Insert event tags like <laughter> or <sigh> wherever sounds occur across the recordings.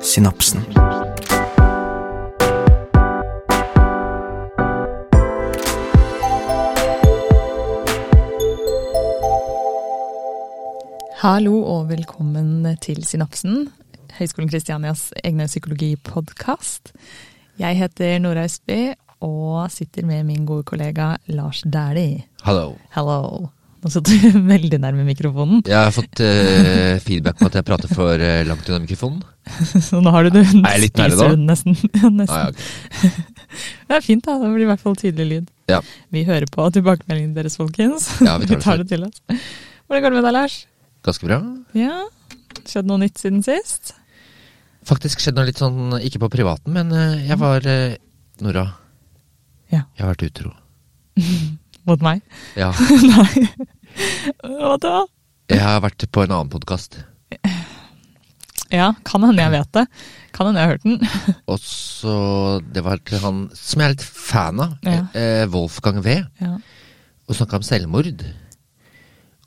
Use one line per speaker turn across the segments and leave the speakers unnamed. synapsen.
Hallo og velkommen til Synapsen, Høgskolen Kristianias egne psykologipodkast. Jeg heter Nora Østby og sitter med min gode kollega Lars Dæhlie.
Hallo.
Hello. Nå satt du <laughs> veldig nærme mikrofonen,
Jeg har fått eh, feedback på at jeg prater for eh, langt unna mikrofonen.
så nå har du det.
Er jeg litt nærme
Spiser
da?
du den Nesten. <laughs> Ja, nesten.
Ah, ja, ok.
Det er fint, da. Det blir i hvert fall tydelig lyd.
ja.
Vi hører på tilbakemeldingene deres, folkens.
Ja,
<laughs>
vi tar det
det til oss. Hvordan går det med deg, Lars?
Ganske bra.
Ja, Skjedd noe nytt siden sist?
Faktisk skjedde noe litt sånn, ikke på privaten, men eh, jeg var eh, Nora,
Ja.
jeg har vært utro.
Mot meg?
Ja.
Nei. Hva da?
Jeg har vært på en annen podkast,
Ja, kan hende jeg vet det. Kan hende jeg har hørt den.
og så Det var til han som jeg er litt fan av,
Ja.
eh, Wolfgang V,
Ja.
og snakka om selvmord.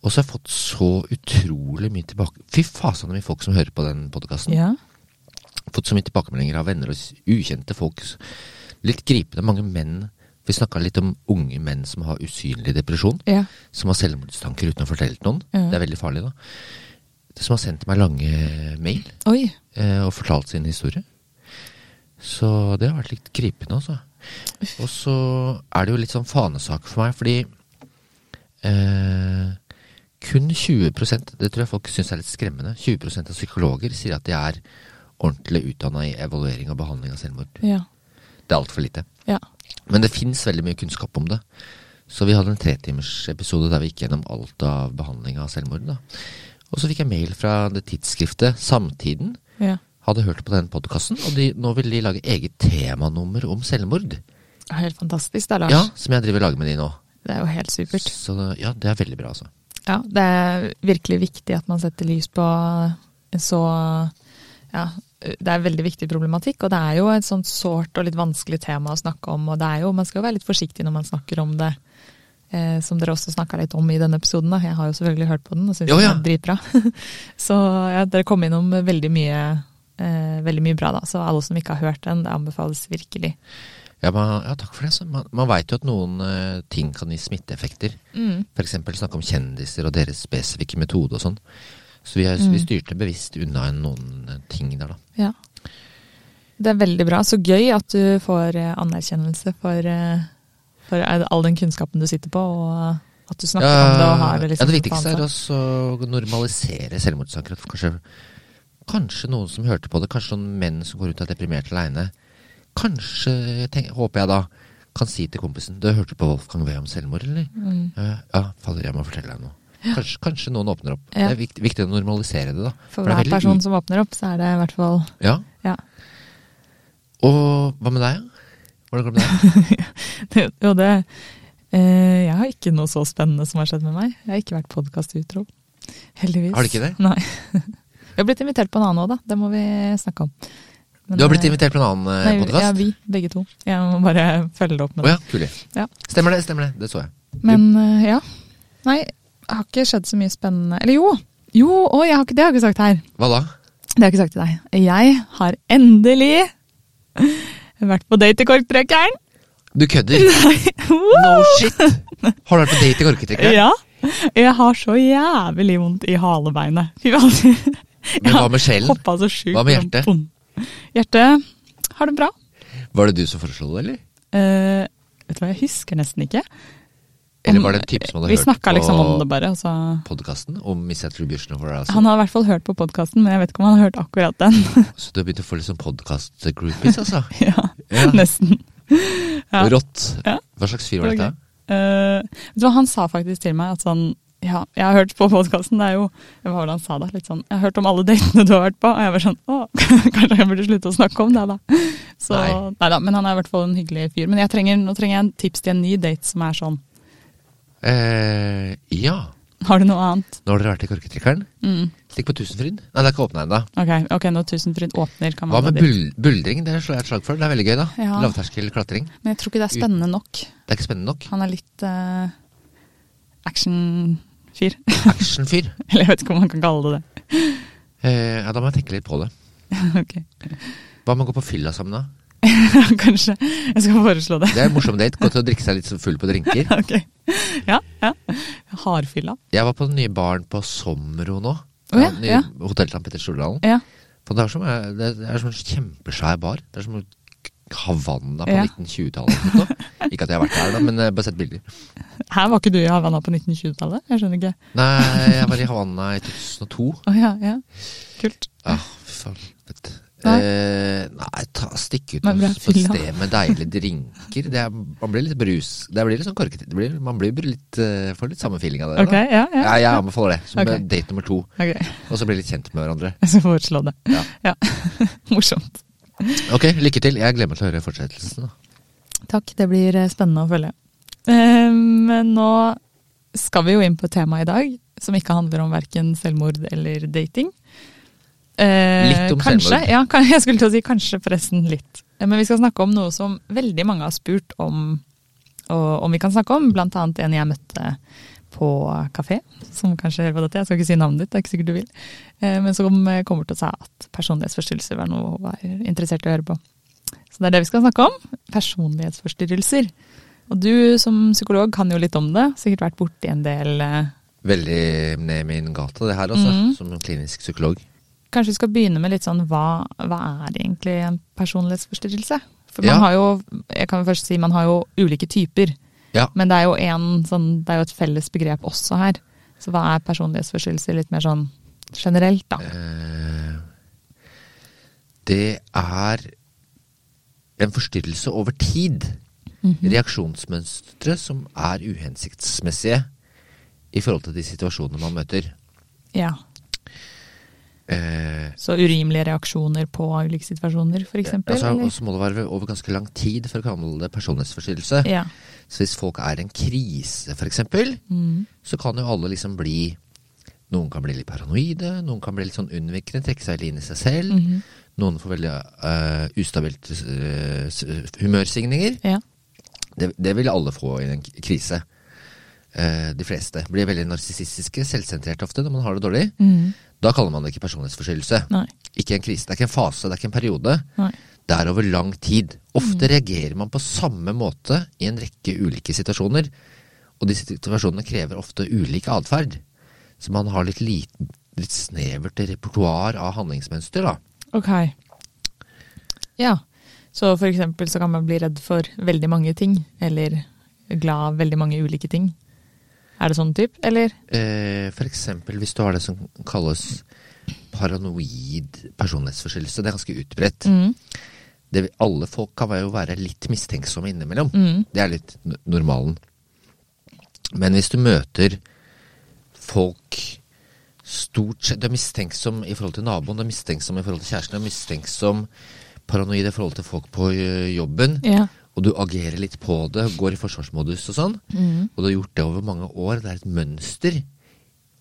Og så har jeg fått så utrolig mye tilbake... Fy fasan, så mye folk som hører på den podkasten.
ja.
fått så mye tilbakemeldinger av venner og s- ukjente folk. S- Litt gripende. Mange menn Vi snakka litt om unge menn som har usynlig depresjon.
Ja.
Som har selvmordstanker uten å fortelle det til noen.
Ja.
Det er veldig farlig, da. Som har sendt meg lange mail
Oi.
eh, og fortalt sin historie. Så det har vært litt gripende, altså. Og så er det jo litt sånn fanesak for meg, fordi eh, kun 20 det tror jeg folk syns er litt skremmende, 20 av psykologer sier at de er ordentlig utdanna i evaluering og behandling av selvmord.
Ja.
Det er altfor lite.
Ja.
Men det fins veldig mye kunnskap om det. Så vi hadde en tretimersepisode der vi gikk gjennom alt av behandling av selvmord. Da. Og så fikk jeg mail fra det tidsskriftet Samtiden,
ja.
hadde hørt på den podkasten, og de, nå vil de lage eget temanummer om selvmord.
Det er Helt fantastisk da, Lars.
Ja, Som jeg driver og lager med de nå.
Det er jo helt supert.
Så ja, det er veldig bra, altså.
Ja, det er virkelig viktig at man setter lys på en så Ja, det er veldig viktig problematikk, og det er jo et sånt sårt og litt vanskelig tema å snakke om. Og det er jo, man skal jo være litt forsiktig når man snakker om det, eh, som dere også snakka litt om i denne episoden. Da. Jeg har jo selvfølgelig hørt på den og syns
Jo, ja.
den er dritbra. <laughs> så ja, dere kom innom veldig mye, eh, veldig mye bra, da. Så alle som ikke har hørt den, det anbefales virkelig.
Ja, man, ja takk for det. Så man man veit jo at noen eh, ting kan gi smitteeffekter. F.eks. snakke om kjendiser og deres spesifikke metode og sånn. Så vi, er, vi styrte bevisst unna en- noen eh, ting der, da.
Ja. Det er veldig bra. Så gøy at du får eh, anerkjennelse for, eh, for eh, all den kunnskapen du sitter på, og eh, at du snakker om det og har det
ja,
liksom
det viktigste
på
er
ansatt.
også å normalisere selvmordssaker. At Kanskje, kanskje noen som hørte på det, kanskje noen menn som går rundt og er deprimert aleine, kanskje, tenk, håper jeg da, kan si til kompisen Du hørte på Wolfgang V om selvmord, eller?
Mm.
«Ja, Ja, fader, jeg må fortelle deg noe. Kanskje, kanskje noen åpner opp.
Ja.
Det er viktig, viktig å normalisere det, da.
For
det
hver
er veldig
person
u-
som åpner opp, så er det i hvert fall
Ja.
Ja. <laughs>
Og hva med deg? Hvordan går det med deg?
Det- Jo, det eh, Jeg har ikke noe så spennende som har skjedd med meg. Jeg har ikke vært podkastutro. Heldigvis.
Har du ikke det?
Nei. <laughs> Jeg har blitt invitert på en annen òg, da. Det må vi snakke om. Men,
Du har blitt
eh,
invitert på en annen
nei, Ja,
podkast?
vi. Begge to. Jeg må bare følge det opp
Å
med det.
ja, kul.
Ja.
Stemmer det, stemmer det. Det så jeg.
Men eh, ja. Nei, det har ikke skjedd så mye spennende. Eller jo! Jo, å, jeg har ikke, det har jeg ikke sagt her.
Hva da?
Det har jeg ikke sagt til deg. Jeg har endelig vært på date i korktrekkeren!
Du kødder? No shit! Har du vært på date
<laughs>
i korketrekkeren?
ja. Jeg har så jævlig vondt i halebeinet. Fy faen.
Men hva med sjelen?
Hoppa så sjukt.
Hva med
sånn,
hjertet?
pum. Hjertet har det bra.
Var det du som foreslo det, eller?
Eh, vet du hva, jeg husker nesten ikke.
Eller
Om-
var det en type som hadde
Vi
hørt
snakka
på
liksom om det bare, og så
podkasten om Misattribution of Arousal?
Han har i hvert fall hørt på podkasten, men jeg vet ikke om han har hørt akkurat den.
Så du har begynt å få litt sånn podkast-groupies, altså?
Ja,
Ja.
nesten. <laughs> Ja.
Rått.
Ja.
Hva slags fyr var
Det var
dette?
Eh, vet du hva, han sa faktisk til meg at sånn ja, jeg har hørt på podkasten, det er jo Hva var det han sa da? Litt sånn Jeg har hørt om alle datene du har vært på, og jeg var sånn Å, <laughs> kanskje jeg burde slutte å snakke om det, da. Så
Nei.
nei da, men han er i hvert fall en hyggelig fyr. Men jeg trenger, nå trenger jeg en tips til en ny date som er sånn
Eh, ja.
Har du noe annet?
Nå har dere vært i korketrekkeren.
Mm.
Stikk på Tusenfryd. Nei, det er ikke åpna ennå.
Ok, ok, når Tusenfryd åpner, kan man
Hva med
gå dit.
bul buldring? Det slår jeg et slag for. Det er veldig gøy, da.
Ja.
Lavterskel klatring.
Men jeg tror ikke det er spennende nok.
Det er ikke spennende nok.
Han er litt eh, actionfyr.
Actionfyr.
<laughs> Eller jeg vet ikke om man kan kalle det det.
Eh, ja, da må jeg tenke litt på det.
<laughs> Ok,
Hva med å gå på fylla sammen, da?
Kanskje. Jeg skal foreslå det.
Det er en morsom date. Gå til å drikke seg litt full på drinker.
<laughs> Ok. Ja, ja. Hardfylla.
Jeg var på den nye baren på Somro nå.
Å ja,
nye
ja.
Hotell San Petter Stordalen.
Ja.
For Det er som, eh, det er som en kjempesvær bar. Det er som Havanna på
Ja.
1920-tallet.
<laughs>
eller noe sånt. Ikke at jeg har vært der, da, men jeg har bare sett bilder.
Her var ikke du i Havanna på 1920-tallet? Jeg skjønner ikke.
Nei, jeg var i Havanna i 2002.
Å ja, ja. Kult.
Ja, fy faen. Vet.
Nei.
Eh, nei, ta, stikk ut
Men bra,
på et
fylla.
sted med deilige drinker. Det er, man blir litt brus. Det blir litt sånn korkete. Det blir- Man blir litt, eh, får litt samme feeling av det.
Ok,
da.
ja, ja.
Ja, jeg anbefaler det. Som
Ok.
date nummer to.
Ok, <laughs>
Og så bli litt kjent med hverandre.
Jeg skal foreslå det.
Ja.
Ja. <laughs> Morsomt.
Ok, lykke til. Jeg glemmer til å høre fortsettelsen. da.
Takk, det blir eh, spennende å følge. Eh, Men nå skal vi jo inn på et tema i dag som ikke handler om verken selvmord eller dating. Eh,
Litt om
kanskje,
selvmord.
Ja, kan- <laughs> jeg skulle til å si kanskje forresten litt. Eh, Men vi skal snakke om noe som veldig mange har spurt om, og om vi kan snakke om, blant annet en jeg møtte på kafé, som kanskje hører på dette, jeg skal ikke si navnet ditt, det er ikke sikkert du vil, Eh, men som eh, kommer til å si at personlighetsforstyrrelser var noe hun var interessert i å høre på. Så det er det vi skal snakke om. Personlighetsforstyrrelser. Og du som psykolog kan jo litt om det. Sikkert vært borti en del eh,
Veldig ned min gata, det her, altså.
Mhm.
Som en klinisk psykolog.
Kanskje vi skal begynne med litt sånn hva, hva er egentlig en personlighetsforstyrrelse? For man
Ja.
har jo, jeg kan jo først si, man har jo ulike typer.
Ja.
Men det er jo, en, sånn, det er jo et felles begrep også her. Så hva er personlighetsforstyrrelser litt mer sånn generelt, da?
Eh, det er en forstyrrelse over tid. Reaksjonsmønstre som er uhensiktsmessige i forhold til de situasjonene man møter.
Ja.
Eh,
Så urimelige reaksjoner på ulike situasjoner, f.eks.?
altså, og så må det være over ganske lang tid for å kalle det personlighetsforstyrrelse.
ja.
Så hvis folk er i en krise, for eksempel,
Mm.
så kan jo alle liksom bli Noen kan bli litt paranoide, noen kan bli litt sånn unnvikende, trekke seg litt inn i seg selv.
Mhm.
Noen får veldig eh, ustabilt eh, s- humørsvingninger.
ja.
Det, det vil alle få i en k- krise. Eh, de fleste blir veldig narsissistiske, selvsentrerte ofte når man har det dårlig.
Mm.
Da kaller man det ikke personlighetsforstyrrelse.
Nei.
Ikke en krise. Det er ikke en fase, det er ikke en periode.
Nei. Mm.
Det er over lang tid. Ofte reagerer man på samme måte i en rekke ulike situasjoner. Og disse situasjonene krever ofte ulik atferd. Så man har litt, liten, litt snevert repertoar av handlingsmønster, da.
Ok. Ja. Så for eksempel så kan man bli redd for veldig mange ting, eller glad av veldig mange ulike ting. Er det sånn type, eller?
Eh, for eksempel hvis du har det som kalles paranoid personlighetsforstyrrelse. Det er ganske utbredt.
Mm.
Det, vil- alle folk kan være- jo være litt mistenksomme innimellom.
Mm.
Det er litt n- normalen. Men hvis du møter folk stort sett Du er mistenksom i forhold til naboen, du er mistenksom i forhold til kjæresten, du er mistenksom paranoid i forhold til folk på ø, jobben,
Ja.
og du agerer litt på det, går i forsvarsmodus og sånn, og du har gjort det over mange år, det er et mønster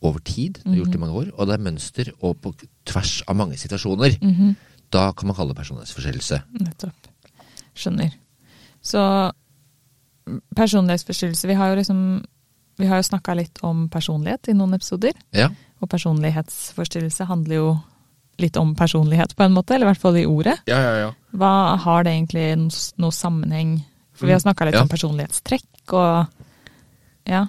over tid, du har gjort det i mange år, og det er mønster og på tvers av mange situasjoner, da kan man kalle det personlighetsforskjellelse.
Nettopp. Skjønner. Så personlighetsforstyrrelse Vi har jo liksom vi har jo snakka litt om personlighet i noen episoder.
Ja.
Og personlighetsforstyrrelse handler jo litt om personlighet, på en måte. Eller i hvert fall i ordet.
Ja, ja, ja.
Hva har det egentlig noen noe sammenheng For vi har snakka litt
Mm. Ja.
om personlighetstrekk og Ja.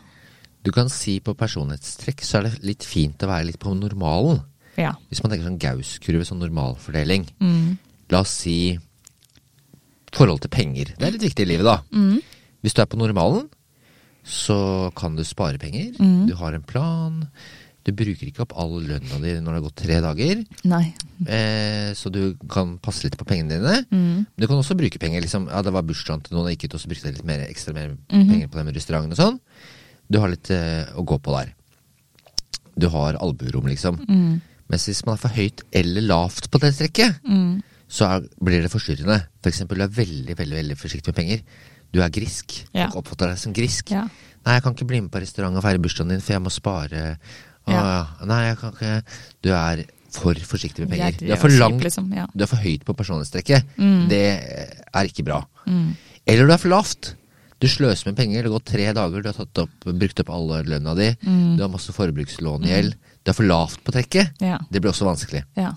Du kan si på personlighetstrekk så er det litt fint å være litt på normalen.
Ja.
Hvis man tenker sånn Gaus-kurve, sånn normalfordeling.
Mm.
La oss si forhold til penger. Det er litt viktig i livet, da.
Mm.
Hvis du er på normalen, så kan du spare penger.
Mm.
Du har en plan. Du bruker ikke opp all lønna di når det har gått tre dager,
Nei.
eh, så du kan passe litt på pengene dine.
Mm.
Du kan også bruke penger. liksom, ja Det var bursdagen til noen, jeg gikk ut og så brukte jeg litt mer, ekstra mer
Mhm.
penger på den restauranten og sånn. Du har litt eh, å gå på der. Du har albuerom, liksom.
Mm.
Mens hvis man er for høyt eller lavt på det strekket,
Mm.
så er, blir det forstyrrende. For eksempel, du er veldig, veldig veldig forsiktig med penger. Du er grisk.
Ja.
Folk oppfatter deg som grisk.
Ja.
Nei, jeg kan ikke bli med på restaurant og feire bursdagen din, for jeg må spare. Å,
Ja.
ja. Nei, jeg kan ikke Du er for forsiktig med penger.
Jeg-
Du er for
jeg-
langt
Liksom. Ja.
du er for høyt på personlighetstrekket. Det er ikke bra.
Mm.
Eller du er for lavt. Du sløser med penger. Det går tre dager, du har tatt opp, brukt opp alle lønna di. Du har masse forbrukslån i gjeld. Du er for lavt på trekket.
Mm. Ja.
Det blir også vanskelig.
ja.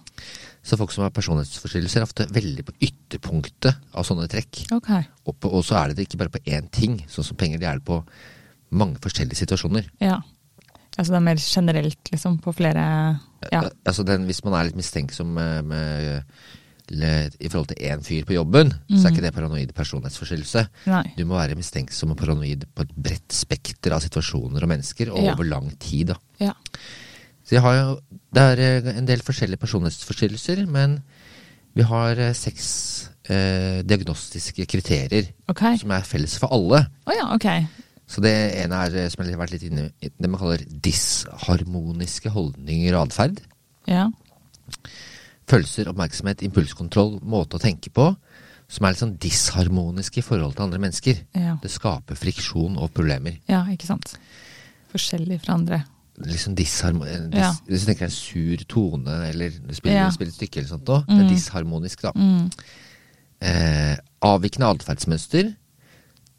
Så folk som har personlighetsforstyrrelser, er ofte veldig på ytterpunktet av sånne trekk.
Ok.
Og, på, og så er det det ikke bare på én ting, sånn som penger. De er det på mange forskjellige situasjoner.
Ja. Altså det er mer generelt, liksom, på flere Ja.
Al- Altså den, hvis man er litt mistenksom eh, med, med le- i forhold til én fyr på jobben, så er ikke det paranoid personlighetsforstyrrelse.
Mhm. Nei.
Du må være mistenksom og paranoid på et bredt spekter av situasjoner og mennesker, og
Ja.
over lang tid. da.
Ja.
Så jeg har jo, Det er eh, en del forskjellige personlighetsforstyrrelser, men vi har eh, seks eh, diagnostiske kriterier
Ok.
som er felles for alle.
Å ja, ok.
Så det ene er eh, som jeg har vært litt inne i, det man kaller disharmoniske holdninger og atferd.
Ja.
Følelser, oppmerksomhet, impulskontroll, måte å tenke på, som er litt sånn disharmoniske i forhold til andre mennesker.
Ja.
Det skaper friksjon og problemer.
ja, ikke sant. Forskjellig fra andre.
liksom disharmo... eh, Dis,
Ja.
Hvis du tenker deg en sur tone, eller du spiller,
Ja. Mm.
spiller et stykke eller sånt også, det er disharmonisk, da. Eh, avvikende atferdsmønster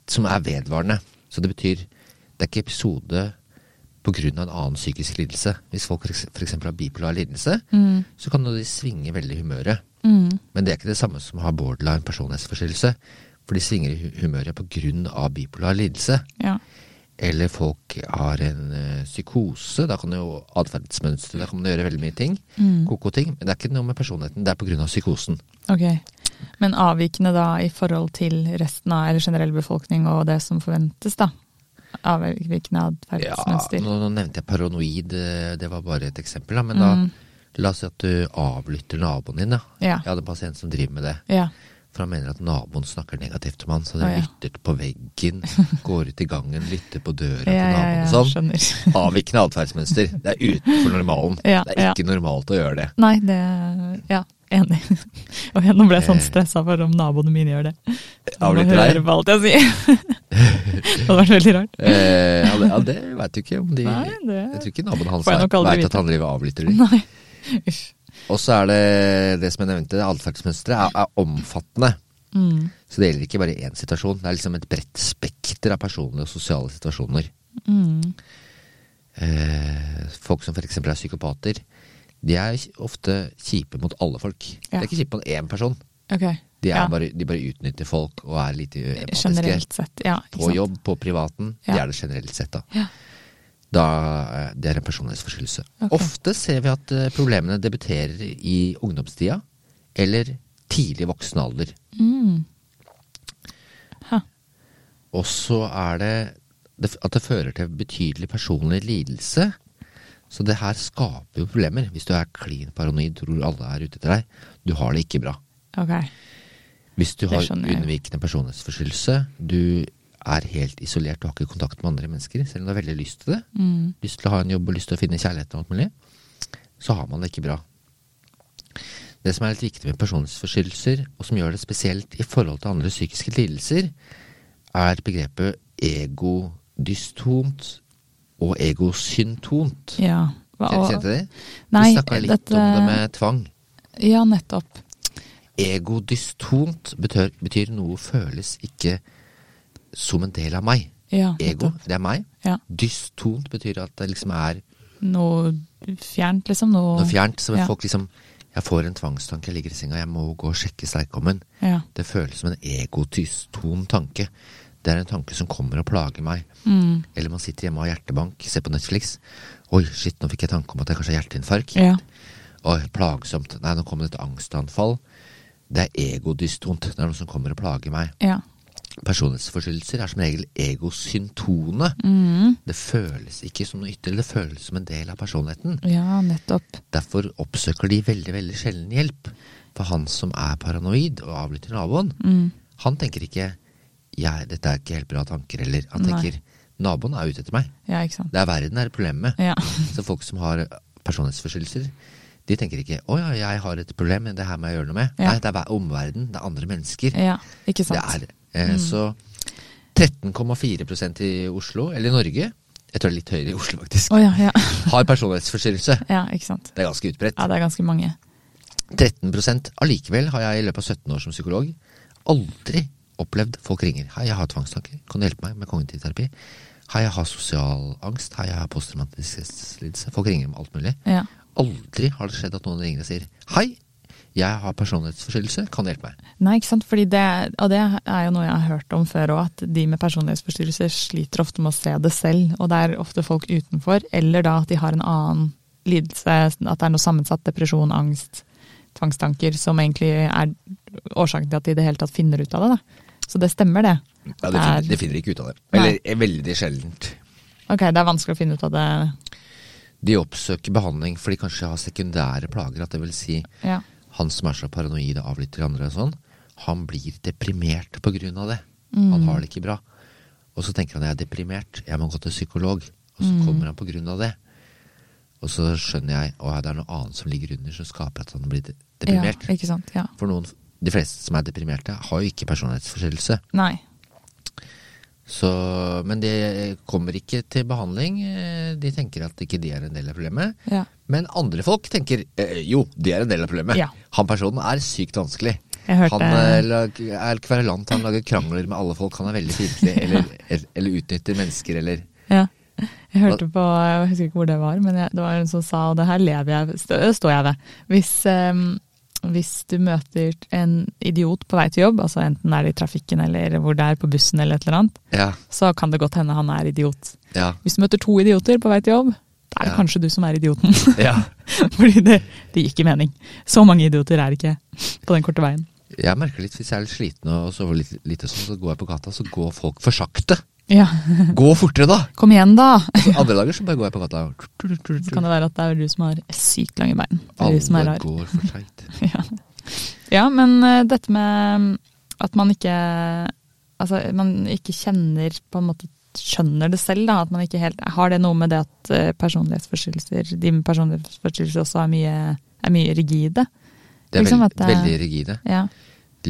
som er vedvarende. Så det betyr det er ikke episode pga. en annen psykisk lidelse. Hvis folk f.eks. har bipolar lidelse,
Mm.
så kan jo de svinge veldig i humøret. Men det er ikke det samme som å ha borderline personlighetsforstyrrelse. For de svinger i hu- humøret pga. bipolar lidelse.
Ja.
Eller folk har en eh, psykose. Da kan det jo atferdsmønstre Da kan man gjøre veldig mye ting.
Mm.
Koko ting. Men det er ikke noe med personligheten. Det er pga. psykosen.
Ok. Men avvikende da i forhold til resten av, eller generell befolkning og det som forventes, da? Avvikende
Ja,
atferdsmønster.
nå, nå nevnte jeg paranoid. eh, Det var bare et eksempel. Da. Men da la oss si at du avlytter naboen din. Da.
Mm. Ja.
Jeg hadde en pasient som driver med det.
Ja.
For han mener at naboen snakker negativt om han, så de
Å, ja.
lytter på
<laughs>
veggen, går ut i gangen, lytter på døra
Ja,
til
ja,
naboen
ja,
og sånn.
skjønner.
Avvikende atferdsmønster. Det er utenfor normalen.
Ja,
det
ja.
er ikke normalt å gjøre det.
Nei, det Ja, enig. <laughs> Og jeg, nå ble jeg sånn
Eh.
stressa for om naboene mine gjør det. Om de
Avlytter deg.
hører på alt jeg sier. <laughs> det hadde vært veldig rart.
Eh, ja, det, ja, det veit du ikke om de
Nei, det-
Jeg tror ikke naboen hans
Får jeg nok aldri
veit at
vite.
han driver og avlytter
<laughs>
dem.
Nei. Uff.
Og så er det det som jeg nevnte, det atferdsmønsteret er, er omfattende.
Mm.
Så det gjelder ikke bare én situasjon. Det er liksom et bredt spekter av personlige og sosiale situasjoner.
Mm.
Eh, folk som f.eks. er psykopater, de er ofte kjipe mot alle folk.
Ja.
De er ikke kjipe mot én person.
Ok.
De, er
ja.
bare, de bare utnytter folk og er lite empatiske.
Generelt sett, ja. ikke
På
sant?
jobb, på privaten.
Ja.
Det er det generelt sett, da.
Ja.
da eh, det er en personlighetsforstyrrelse.
Ok.
Ofte ser vi at eh, problemene debuterer i ungdomstida eller tidlig voksen alder.
Mm. Ha.
Og så er det det- at det fører til betydelig personlig lidelse. Så det her skaper jo problemer. Hvis du er klin paranoid, tror alle er ute etter deg. Du har det ikke bra.
Ok.
Hvis du
Det
har
skjønner jeg.
unnvikende personlighetsforstyrrelse, du er helt isolert, du har ikke kontakt med andre mennesker, selv om du har veldig lyst til det,
Mm.
lyst til å ha en jobb og lyst til å finne kjærligheten og alt mulig, så har man det ikke bra. Det som er litt viktig med personlighetsforstyrrelser, og som gjør det spesielt i forhold til andre psykiske lidelser, er begrepet egodystont og egosyntont.
Ja. Hva-
Kjen-
og-
Kjente du det?
Nei,
Vi snakka litt
dette-
om det med tvang.
Ja, nettopp.
Egodystont betyr, betyr noe føles ikke som en del av meg.
Ja,
Ego,
nettopp.
det er meg.
Ja.
Dystont betyr at det liksom er
Noe fjernt, liksom. Noe,
noe fjernt. Så
ja.
folk liksom Jeg får en tvangstanke, jeg ligger i senga, jeg må gå og sjekke sterkommen.
Ja.
Det føles som en egotyston tanke. Det er en tanke som kommer og plager meg.
Mm.
Eller man sitter hjemme og har hjertebank, ser på Netflix. Oi, shit, nå fikk jeg tanke om at jeg kanskje har hjerteinfarkt.
ja.
Oi, plagsomt. Nei, nå kommer det et angstanfall. Det er egodystont. Det er noe som kommer og plager meg.
Ja.
Personlighetsforstyrrelser er som regel egosyntone.
Mm.
Det føles ikke som noe ytre, det føles som en del av personligheten.
ja, nettopp.
Derfor oppsøker de veldig veldig sjelden hjelp. For han som er paranoid og avlytter naboen,
Mm.
han tenker ikke jeg, 'dette er ikke helt bra tanker', eller han
Nei.
tenker 'naboen er ute etter meg'.
Ja, ikke sant.
Det er verden det er problemet med.
Ja. <laughs>
Så folk som har personlighetsforstyrrelser, de tenker ikke 'å ja, jeg har et problem, men det her må jeg gjøre noe med'.
Ja.
Nei, det er ver- omverdenen, det er andre mennesker.
ja, ikke
Det
sant. Mm.
er, eh, Så 13,4 i Oslo, eller i Norge, jeg tror det er litt høyere i Oslo faktisk,
Å ja, ja. <laughs>
har personlighetsforstyrrelse.
ja, ikke sant.
Det er ganske utbredt.
Ja, det er ganske mange.
13 allikevel har jeg i løpet av 17 år som psykolog aldri opplevd folk ringer. Hei, jeg har tvangstanker. Kan du hjelpe meg med kognitiv terapi? Hei, jeg har sosial angst. Hei, jeg har posttraumatisk stresslidelse. Folk ringer om alt mulig.
Ja.
Aldri har det skjedd at noen ringer og sier hei, Jeg har personlighetsforstyrrelse, kan hjelpe meg.
Nei, ikke sant? Fordi det, og det er jo noe jeg har hørt om før òg, at de med personlighetsforstyrrelser sliter ofte med å se det selv, og det er ofte folk utenfor, eller da at de har en annen lidelse, at det er noe sammensatt, depresjon, angst, tvangstanker, som egentlig er årsaken til at de i det hele tatt finner ut av det. Da. Så det stemmer, det.
Ja,
det finner- det
ikke ut av det. eh,
Eller,
veldig sjeldent.
Ok, det er vanskelig å finne ut av det.
De oppsøker behandling fordi kanskje de har sekundære plager. At det vil si,
Ja.
han som er så paranoid og avlytter andre og sånn, han blir deprimert på grunn av det.
Mm.
Han har det ikke bra. Og så tenker han jeg er deprimert, jeg må gå til psykolog. Og
Mm.
så kommer han på grunn av det. Og så skjønner jeg at det er noe annet som ligger under som skaper at han blir de- deprimert.
Ja, ikke sant? Ja.
For noen, de fleste som er deprimerte, har jo ikke personlighetsforstyrrelse.
Nei.
Så, men det kommer ikke til behandling. Eh, De tenker at ikke de er en del av problemet.
Ja.
Men andre folk tenker eh, jo, de er en del av problemet.
Ja.
Han personen er sykt vanskelig.
Jeg hørte-
Han eh, lag- er kverulant, han lager krangler med alle folk, han er veldig
<laughs>
fiendtlig, eller, eller, eller utnytter mennesker, eller
Ja. Jeg hørte på, jeg husker ikke hvor det var, men jeg, det var en som sa, og det her lever jeg, stå- det står jeg ved. Hvis, em, hvis du møter en idiot på vei til jobb, altså enten er det i trafikken eller hvor det er på bussen eller et eller annet,
Ja,
så kan det godt hende han er idiot.
ja,
Hvis du møter to idioter på vei til jobb, da er det
Ja.
kanskje du som er idioten. <laughs>
ja.
Fordi det, det gir ikke mening. Så mange idioter er det ikke på den korte veien.
Jeg merker litt, hvis jeg er litt sliten og sover litt, litt og sånn, så går jeg på gata, så går folk for sakte.
Ja,
Gå fortere, da!
<laughs> kom igjen da!
<laughs> Så andre dager så bare går jeg på gata.
Så kan det være at det er du som har sykt lange bein. Det er du som er
Alle
rar.
går for seigt.
Ja, ja men eh, dette med mm, at man ikke Altså, man ikke kjenner på en måte Skjønner det selv, da. At man ikke helt Har det noe med det at eh, personlighetsforstyrrelser De med personlighetsforstyrrelser også er mye, er mye rigide?
Det er
Liksom
veld,
at det er-
veldig rigide.
Ja.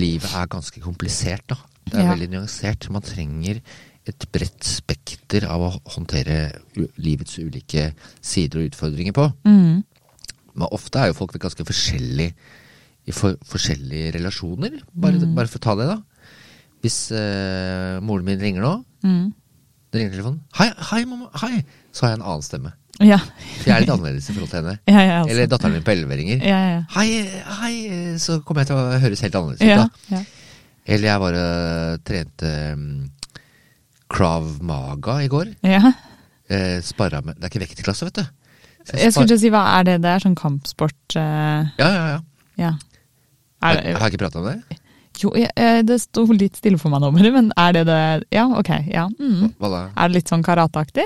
Livet er ganske komplisert, da. Det er
Ja.
veldig nyansert. Man trenger et bredt spekter av å håndtere u- livets ulike sider og utfordringer på.
Mm.
Men ofte er jo folk ganske forskjellige i for, forskjellige relasjoner. Bare,
Mm.
bare for å ta det, da. Hvis eh, moren min ringer nå,
Mm.
det ringer telefonen Hei, hei, mamma, hei! Så har jeg en annen stemme.
Ja. <laughs>
For jeg er litt annerledes i forhold til henne.
ja, ja, altså.
Eller datteren min på elleve ringer.
ja, ja,
Hei, hei! Så kommer jeg til å høres helt annerledes ut,
ja.
da.
ja, ja.
Eller jeg var og trente um, Krav Maga i går.
ja.
Eh, sparra med Det er ikke vekterklasse, vet du. Så
Jeg
spar-
skulle til å si, hva er det det er? Sånn kampsport eh,
Ja, ja, ja.
Ja. Er
Har,
det,
har jeg ikke prata om det?
jo, jeg- eh, det sto litt stille for meg nå, bare, men er det det Ja, ok. Ja. Mm.
Hva da?
Er det litt sånn karateaktig?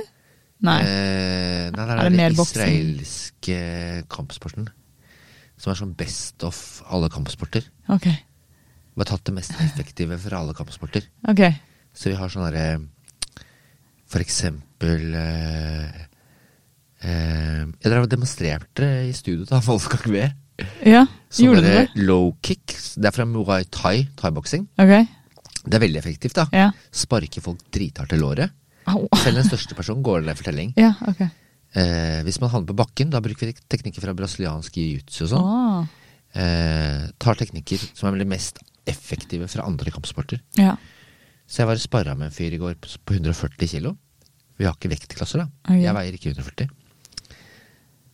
Nei.
Eh, nei, det
Er
er,
det mer
den
boksing?
israelske kampsporten. Som er sånn best of alle kampsporter.
Ok.
Vi har tatt det mest effektive fra alle kampsporter.
Ok.
Så vi har sånn derre For eksempel eh, eh, Jeg drev og demonstrerte eh, i studio til han Wolfgang Wee.
Ja,
Sånn
gjorde du det?
derre low kick. Det er fra Muay Thai, thaiboksing.
Ok.
Det er veldig effektivt, da.
Ja.
Sparker folk drithardt i låret.
Au.
Selv den største personen går det ned for telling.
Ja, ok.
Eh, hvis man havner på bakken, da bruker vi teknikker fra brasiliansk jiu-jitsu og sånn.
Ah.
Eh, tar teknikker som er de mest effektive fra andre kampsporter.
Ja.
Så jeg var og sparra med en fyr i går på på 140 kilo. Vi har ikke vektklasser, da.
Ok.
Jeg veier ikke 140.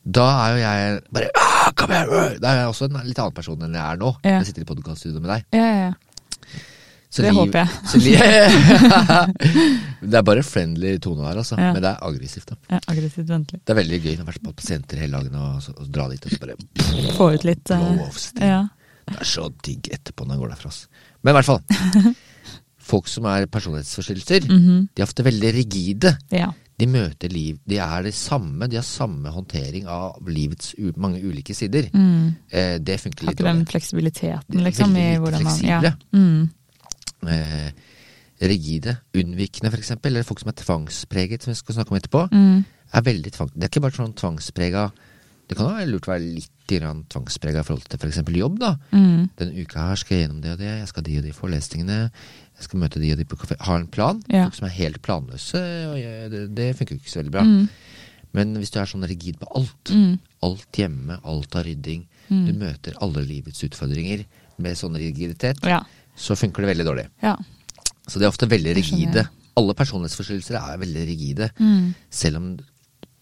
Da er jo jeg bare «Ah, Kom her! øh!» Da er jeg også en litt annen person enn jeg er nå.
Ja.
Jeg sitter i podkaststudio med deg.
Ja, ja, ja.
Så
Det
liv- <laughs>
håper jeg.
Så
<laughs>
li- det er bare friendly tone her, altså.
Ja.
Men det er aggressivt. da.
ja aggressivt vennlig.
Det er veldig gøy når man har vært på pasienter hele dagen og, så- og dra dit og så bare
Få ut litt eh,
blow off steam.
Ja.
Det er så digg etterpå når han går derfra. ass. Men i hvert fall.
<laughs>
Folk som er personlighetsforstyrrelser,
Mhm.
de er ofte veldig rigide.
ja.
De møter liv De er det samme, de har samme håndtering av livets u mange ulike sider.
Mm.
Eh, det funker
Har
litt
ikke den
dårlig.
fleksibiliteten, liksom,
Veldig
i
lite
hvordan man Ja.
fleksible.
Mm.
Eh, rigide, unnvikende f.eks., eller folk som er tvangspreget, som vi skal snakke om etterpå.
Mm.
er veldig tvang... Det er ikke bare sånn tvangsprega Det kan jo være lurt å være litt grann tvangsprega i forhold til f.eks. jobb, da.
Mm.
Denne uka her skal jeg gjennom det og det, jeg skal ha de og de forelesningene, jeg skal møte de og de på kafé Ha en plan.
Ja.
Folk som er helt planløse, og jeg, det, det funker jo ikke så veldig bra.
Mm.
Men hvis du er sånn rigid på alt,
Mm.
alt hjemme, alt av rydding, du møter alle livets utfordringer med sånn rigiditet,
Ja.
så funker det veldig dårlig.
Ja.
Så de er ofte veldig
skjønner
rigide. Alle personlighetsforstyrrelser er veldig rigide.
Mm.
Selv om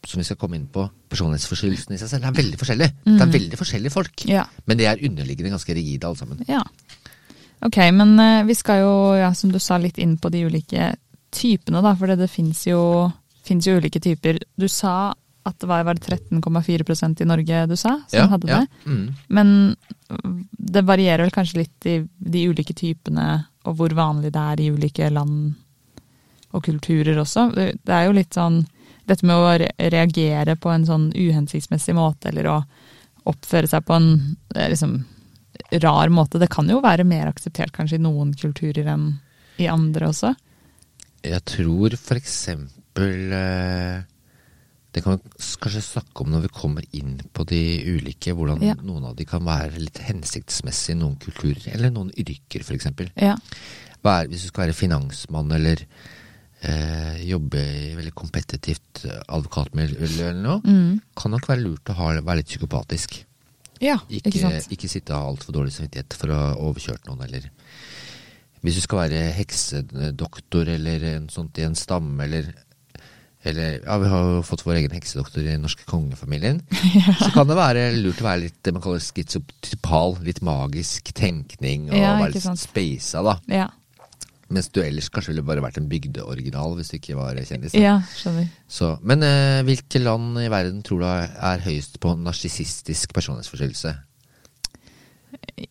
som vi skal komme inn på, personlighetsforstyrrelsen i seg selv, er veldig forskjellig. Det er veldig forskjellige folk.
Mm. Ja.
Men de er underliggende ganske rigide, alle sammen.
ja. Ok, men eh, vi skal jo, ja, som du sa, litt inn på de ulike typene, da. For det, det fins jo, finnes jo ulike typer. Du sa at det var, var det 13,4 i Norge du sa, som
ja,
hadde
ja.
det.
Mm.
Men mm, det varierer vel kanskje litt i de ulike typene, og hvor vanlig det er i ulike land og kulturer også. Det det er jo litt sånn dette med å re- reagere på en sånn uhensiktsmessig måte, eller å oppføre seg på en eh, liksom rar måte. Det kan jo være mer akseptert kanskje i noen kulturer enn i andre også.
Jeg tror for eksempel eh, Det kan vi s- kanskje snakke om når vi kommer inn på de ulike, hvordan
Ja.
noen av de kan være litt hensiktsmessige i noen kulturer, eller noen yrker for eksempel.
Ja.
Hva er, hvis du skal være finansmann eller eh, jobbe i veldig kompetitivt eh, advokatmiljø eller noe,
Mm.
kan nok være lurt å ha, være litt psykopatisk.
Ja,
Ikke,
ikke, sant?
ikke sitte og ha altfor dårlig samvittighet for å ha overkjørt noen, eller Hvis du skal være heksedoktor eller en sånt i en stamme, eller eller, ja, Vi har jo fått vår egen heksedoktor i den norske
<laughs>
kongefamilien. Så kan det være lurt å være litt det man kaller skizopal, litt magisk tenkning og
Ja,
være
ikke
litt
sant.
speisa, da.
Ja.
Mens du ellers kanskje ville bare vært en bygdeoriginal hvis du ikke var kjendis. da.
ja, skjønner.
Så, men eh, hvilke land i verden tror du er er høyest på narsissistisk personlighetsforstyrrelse?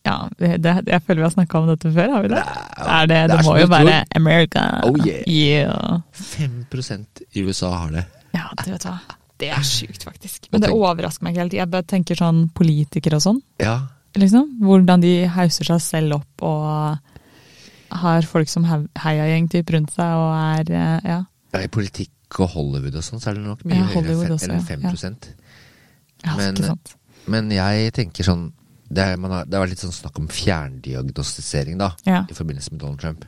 Ja, det, det, jeg føler vi har snakka om dette før, har vi det? Det er det,
det er
det,
så
må
mye
jo være
ord.
America.
Oh, yeah.
Yeah.
5 i USA har det.
Ja, du vet hva. Det er sjukt, faktisk. Men det
tenk-
overrasker meg ikke helt. Jeg bare tenker sånn politikere og sånn.
Ja.
Liksom. Hvordan de hauser seg selv opp og har folk som he- heiagjeng-typ rundt seg og er eh, Ja.
ja I politikk og Hollywood og sånn, så er det nok mye
Ja, Hollywood
høyere enn
også,
fem- enn
ja.
5
ja
Men- eh,
ikke sant.
Men jeg tenker sånn det, er, man har, det har vært litt sånn snakk om fjerndiagnostisering da,
Ja.
i forbindelse med Donald Trump.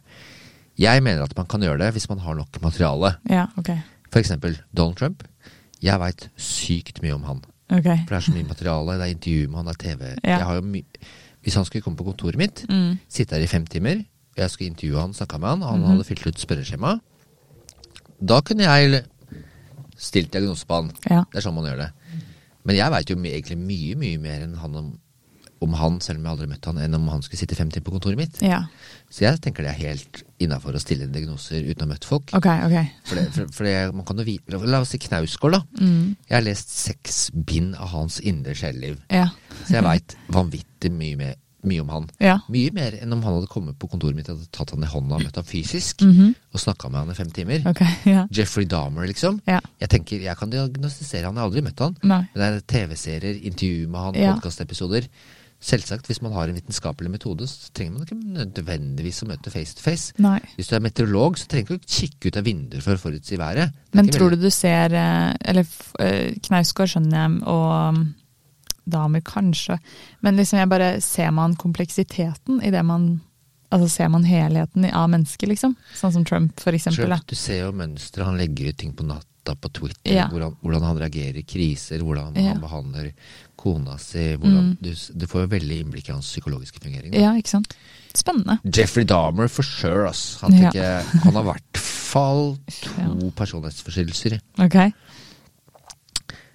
Jeg mener at man kan gjøre det hvis man har nok materiale.
Ja, ok.
For eksempel Donald Trump. Jeg veit sykt mye om han.
Ok.
For det er så mye materiale, det er intervju med han, det er TV.
Ja.
Jeg har jo my Hvis han skulle komme på kontoret mitt,
Mm. Mhm.
sitte her i fem timer, jeg skulle intervjue han, snakka med han, han hadde fylt ut spørreskjema, da kunne jeg l- stilt diagnose på han.
Ja.
Det er sånn man gjør det. Men jeg veit jo my- egentlig mye, mye mer enn han om, om han, selv om jeg aldri møtte han, enn om han skulle sitte fem timer på kontoret mitt.
ja.
Så jeg tenker det er helt innafor å stille diagnoser uten å ha møtt folk.
Ok, ok.
For, det, for, for det, man kan jo vite La oss si Knausgård, da.
Mm.
Jeg har lest seks bind av hans indre sjelliv.
Ja.
Så jeg veit vanvittig mye, mer, mye om han.
Ja.
Mye mer enn om han hadde kommet på kontoret mitt og hadde tatt han i hånda og møtt han fysisk
Mhm.
og snakka med han i fem timer.
Ok, <laughs> ja.
Jeffrey Dahmer, liksom.
Ja.
Jeg tenker, jeg kan diagnostisere han, jeg har aldri møtt han.
Nei.
Men det er TV-serier, intervju med han,
Ja.
podkastepisoder. Selvsagt, hvis man har en vitenskapelig metode, så trenger man ikke nødvendigvis å møte face to face.
Nei.
Hvis du er meteorolog, så trenger du ikke kikke ut av vinduer for å forutsi været. Det er
Men
ikke
tror du
veldig-
du ser eh, Eller f- eh, Knausgård skjønner jeg, og mm, damer kanskje. Men liksom jeg bare ser man kompleksiteten i det man Altså ser man helheten i- av mennesket, liksom? Sånn som Trump, for eksempel. Da.
Trump, du ser jo mønsteret. Han legger ut ting på natta på Twitter.
Ja.
Hvordan, hvordan han reagerer i kriser, hvordan
Ja. Mm.
han behandler kona si. Hvordan, du, s- du får jo veldig innblikk i hans psykologiske fungering. da.
Ja, ikke sant? Spennende.
Jeffrey Dahmer for sure, ass. Han,
Ja.
tenker, han har i hvert fall
<laughs> Ja.
to personlighetsforstyrrelser.
Ok.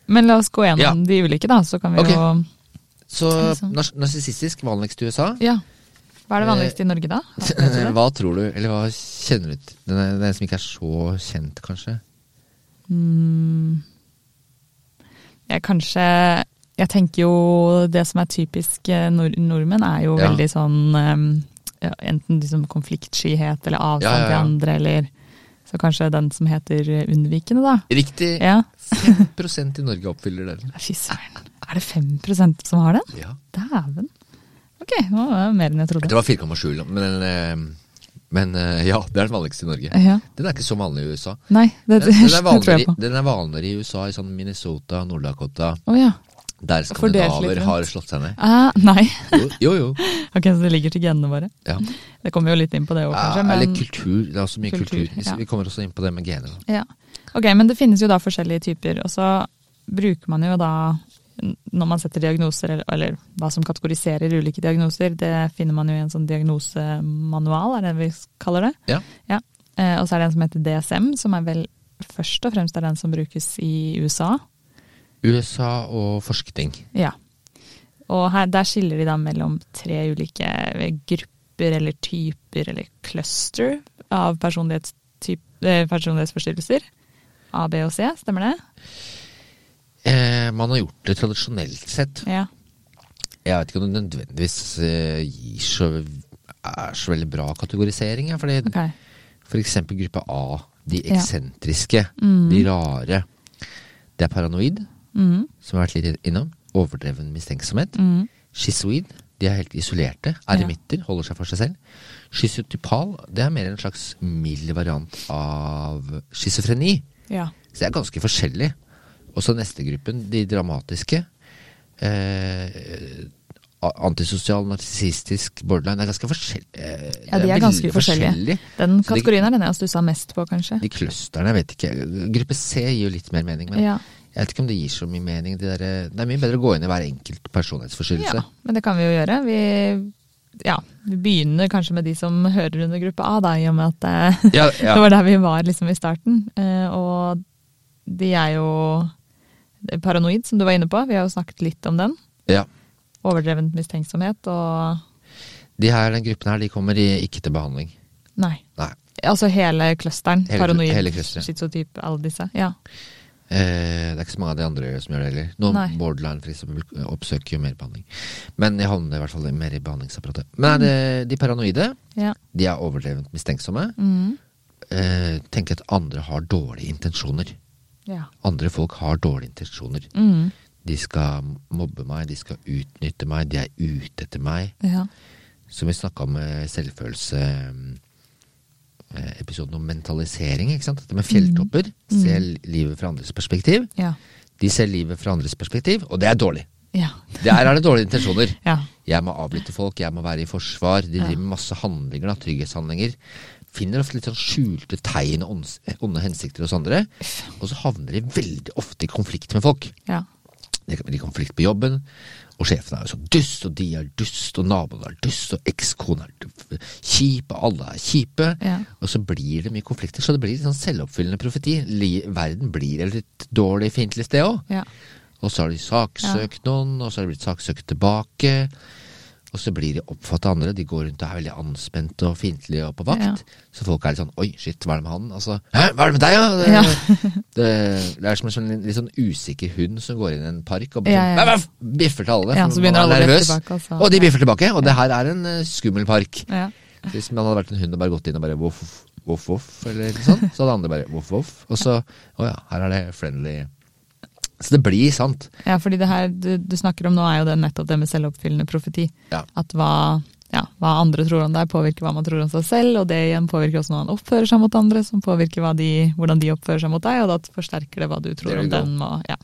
Men la oss gå gjennom de ulike, da. Så kan vi
Ok.
jo
Så
Liksom.
nars- narsissistisk, vanligst i USA.
Ja. Hva er
Eh,
det vanligste i
<laughs>
Norge, da?
Hva tror du, eller hva kjenner du til? Den, er- den som ikke er så kjent, kanskje?
Mm. Jeg kanskje Jeg tenker jo det som er typisk eh, nord nordmenn, er jo
Ja.
veldig sånn em, ja, Enten liksom konfliktskyhet eller avstand
Ja, ja, ja.
til andre, eller Så kanskje den som heter eh, unnvikende, da.
Riktig!
Ja.
5 i Norge oppfyller den.
Fy søren. Er det 5 som har den?
Ja.
Dæven. Ok, nå var det mer enn jeg
Det
trodde.
var 4,7, men, eh, men eh, ja, det er den vanligste i Norge.
Ja.
Den er ikke så vanlig i USA.
Nei, det,
Den, den, er
tror jeg
vanligere,
på.
den er vanligere i USA, i sånn Minnesota, Nord-Dakota,
Å ja.
der
Fordelt litt
skandinaver
rundt.
har slått seg ned.
Ah, nei. <laughs>
Jo, jo. jo.
Ok, Så det ligger til genene våre.
Ja.
Det kommer jo litt inn på det òg, <laughs> kanskje.
Ja, eller
men-
kultur. Det er også mye kultur.
Kultur,
Hvis-
ja.
Vi kommer også inn på det med gener. sånn. da.
Ja. Ok, men det finnes jo da forskjellige typer, og så bruker man jo da n- når man setter diagnoser, eller, eller hva som kategoriserer ulike diagnoser, det finner man jo i en sånn diagnosemanual, er det det vi kaller det?
Ja.
Ja. Eh, Og så er det en som heter DSM, som er vel først og fremst er den som brukes i USA.
USA og forskning.
Ja. Og her, der skiller de da mellom tre ulike grupper eller typer eller cluster av personlighetstyp, eh, personlighetsforstyrrelser. A, B og C, stemmer det?
Eh, man har gjort det tradisjonelt sett.
Ja.
Jeg vet ikke om det nødvendigvis eh, gir så, er så veldig bra kategorisering. Ja, fordi
Ok.
For eksempel gruppe A, de
Ja. Mm.
eksentriske, de rare. Det er paranoid,
Mhm.
som vi har vært litt innom. Overdreven mistenksomhet.
Mhm.
Schizoid, de er helt isolerte. Eremitter, holder seg for seg selv. Schizotypal, det er mer en slags mild variant av schizofreni.
Ja.
Så det er ganske forskjellig. Og så neste gruppen, de dramatiske. Eh, a- antisosial, narsissistisk, borderline. Det er ganske forskjellig. Eh,
ja, de
det
er ganske
veldig
forskjellige.
forskjellig.
Den
Så det-
kategorien er den jeg har stussa mest på, kanskje.
de clusterne, jeg vet ikke. Gruppe C gir jo litt mer mening, men
Ja.
jeg vet ikke om det gir så mye mening. De der, eh, det er mye bedre å gå inn i hver enkelt personlighetsforstyrrelse.
Ja, men det kan vi jo gjøre. Vi, ja, vi begynner kanskje med de som hører under gruppe A, da, i og med at eh, <laughs>
Ja,
det var der vi var liksom i starten. Eh, Og de er jo paranoid, som du var inne på. Vi har jo snakket litt om den.
ja.
Overdreven mistenksomhet og
De her, den gruppen her, de kommer i, ikke til behandling.
Nei.
Nei.
Altså hele clusteren.
Hele-
paranoid,
hele clusteren.
schizotyp, alle disse. Ja.
Eh, det er ikke så mange av de andre som gjør det heller. Noen
Nei.
borderline for eksempel, oppsøker jo mer behandling. Men jeg havner i hvert fall mer i behandlingsapparatet. Men er det,
Mm.
de paranoide,
ja.
de er overdrevent mistenksomme.
Mm.
Eh, tenker at andre har dårlige intensjoner.
ja.
Andre folk har dårlige intensjoner.
Mm.
De skal mobbe meg, de skal utnytte meg, de er ute etter meg.
ja.
Som vi snakka om eh, selvfølelse eh, Episoden om mentalisering. ikke sant? Dette med fjelltopper. Se livet fra andres perspektiv.
Ja.
De ser livet fra andres perspektiv, og det er dårlig.
Ja.
Der er det dårlige intensjoner.
Ja.
Jeg må avlytte folk, jeg må være i forsvar. De driver med masse handlinger, da, trygghetshandlinger. Finner ofte litt sånn skjulte tegn og ons- onde hensikter hos andre. Og så havner de veldig ofte i konflikt med folk.
ja.
Det kan bli konflikt på jobben, og sjefen er jo så dust, og de er dust, og naboene er dust, og ekskona er d- kjip, og alle er kjipe.
Ja.
Og så blir det mye konflikter, så det blir en sånn selvoppfyllende profeti. Li- Verden blir et litt dårlig, fiendtlig sted òg.
ja.
Og så har de saksøkt noen, og så har de blitt saksøkt tilbake. Og så blir de oppfattet av andre. De går rundt og er veldig anspente og fiendtlige og på vakt. Så folk er litt sånn Oi, shit, hva er det med han? Altså, Hæ, hva er det med deg, da?
Ja.
det, det er som en sånn, litt sånn usikker hund som går inn i en park og blir
Ja, ja.
sånn, «Væ, væ», biffer til alle.
Ja,
for
så begynner
man er
alle å biffe
nervøs.
tilbake, altså. og så-
Og de biffer tilbake. Og det her er en eh, skummel park.
ja.
Så Hvis man hadde vært en hund og bare gått inn og bare voff, voff, voff, eller noe sånt, så hadde andre bare voff, voff. Og så Å ja, her er det friendly Så det blir sant.
Ja, fordi det her du, du snakker om nå er jo det nettopp det med selvoppfyllende profeti.
Ja.
At hva, ja, hva andre tror om deg påvirker hva man tror om seg selv, og det igjen påvirker hvordan man oppfører seg mot andre, som påvirker hva de, hvordan de oppfører seg mot deg, og da forsterker det hva du tror
There you
om
go.
dem. Og, ja.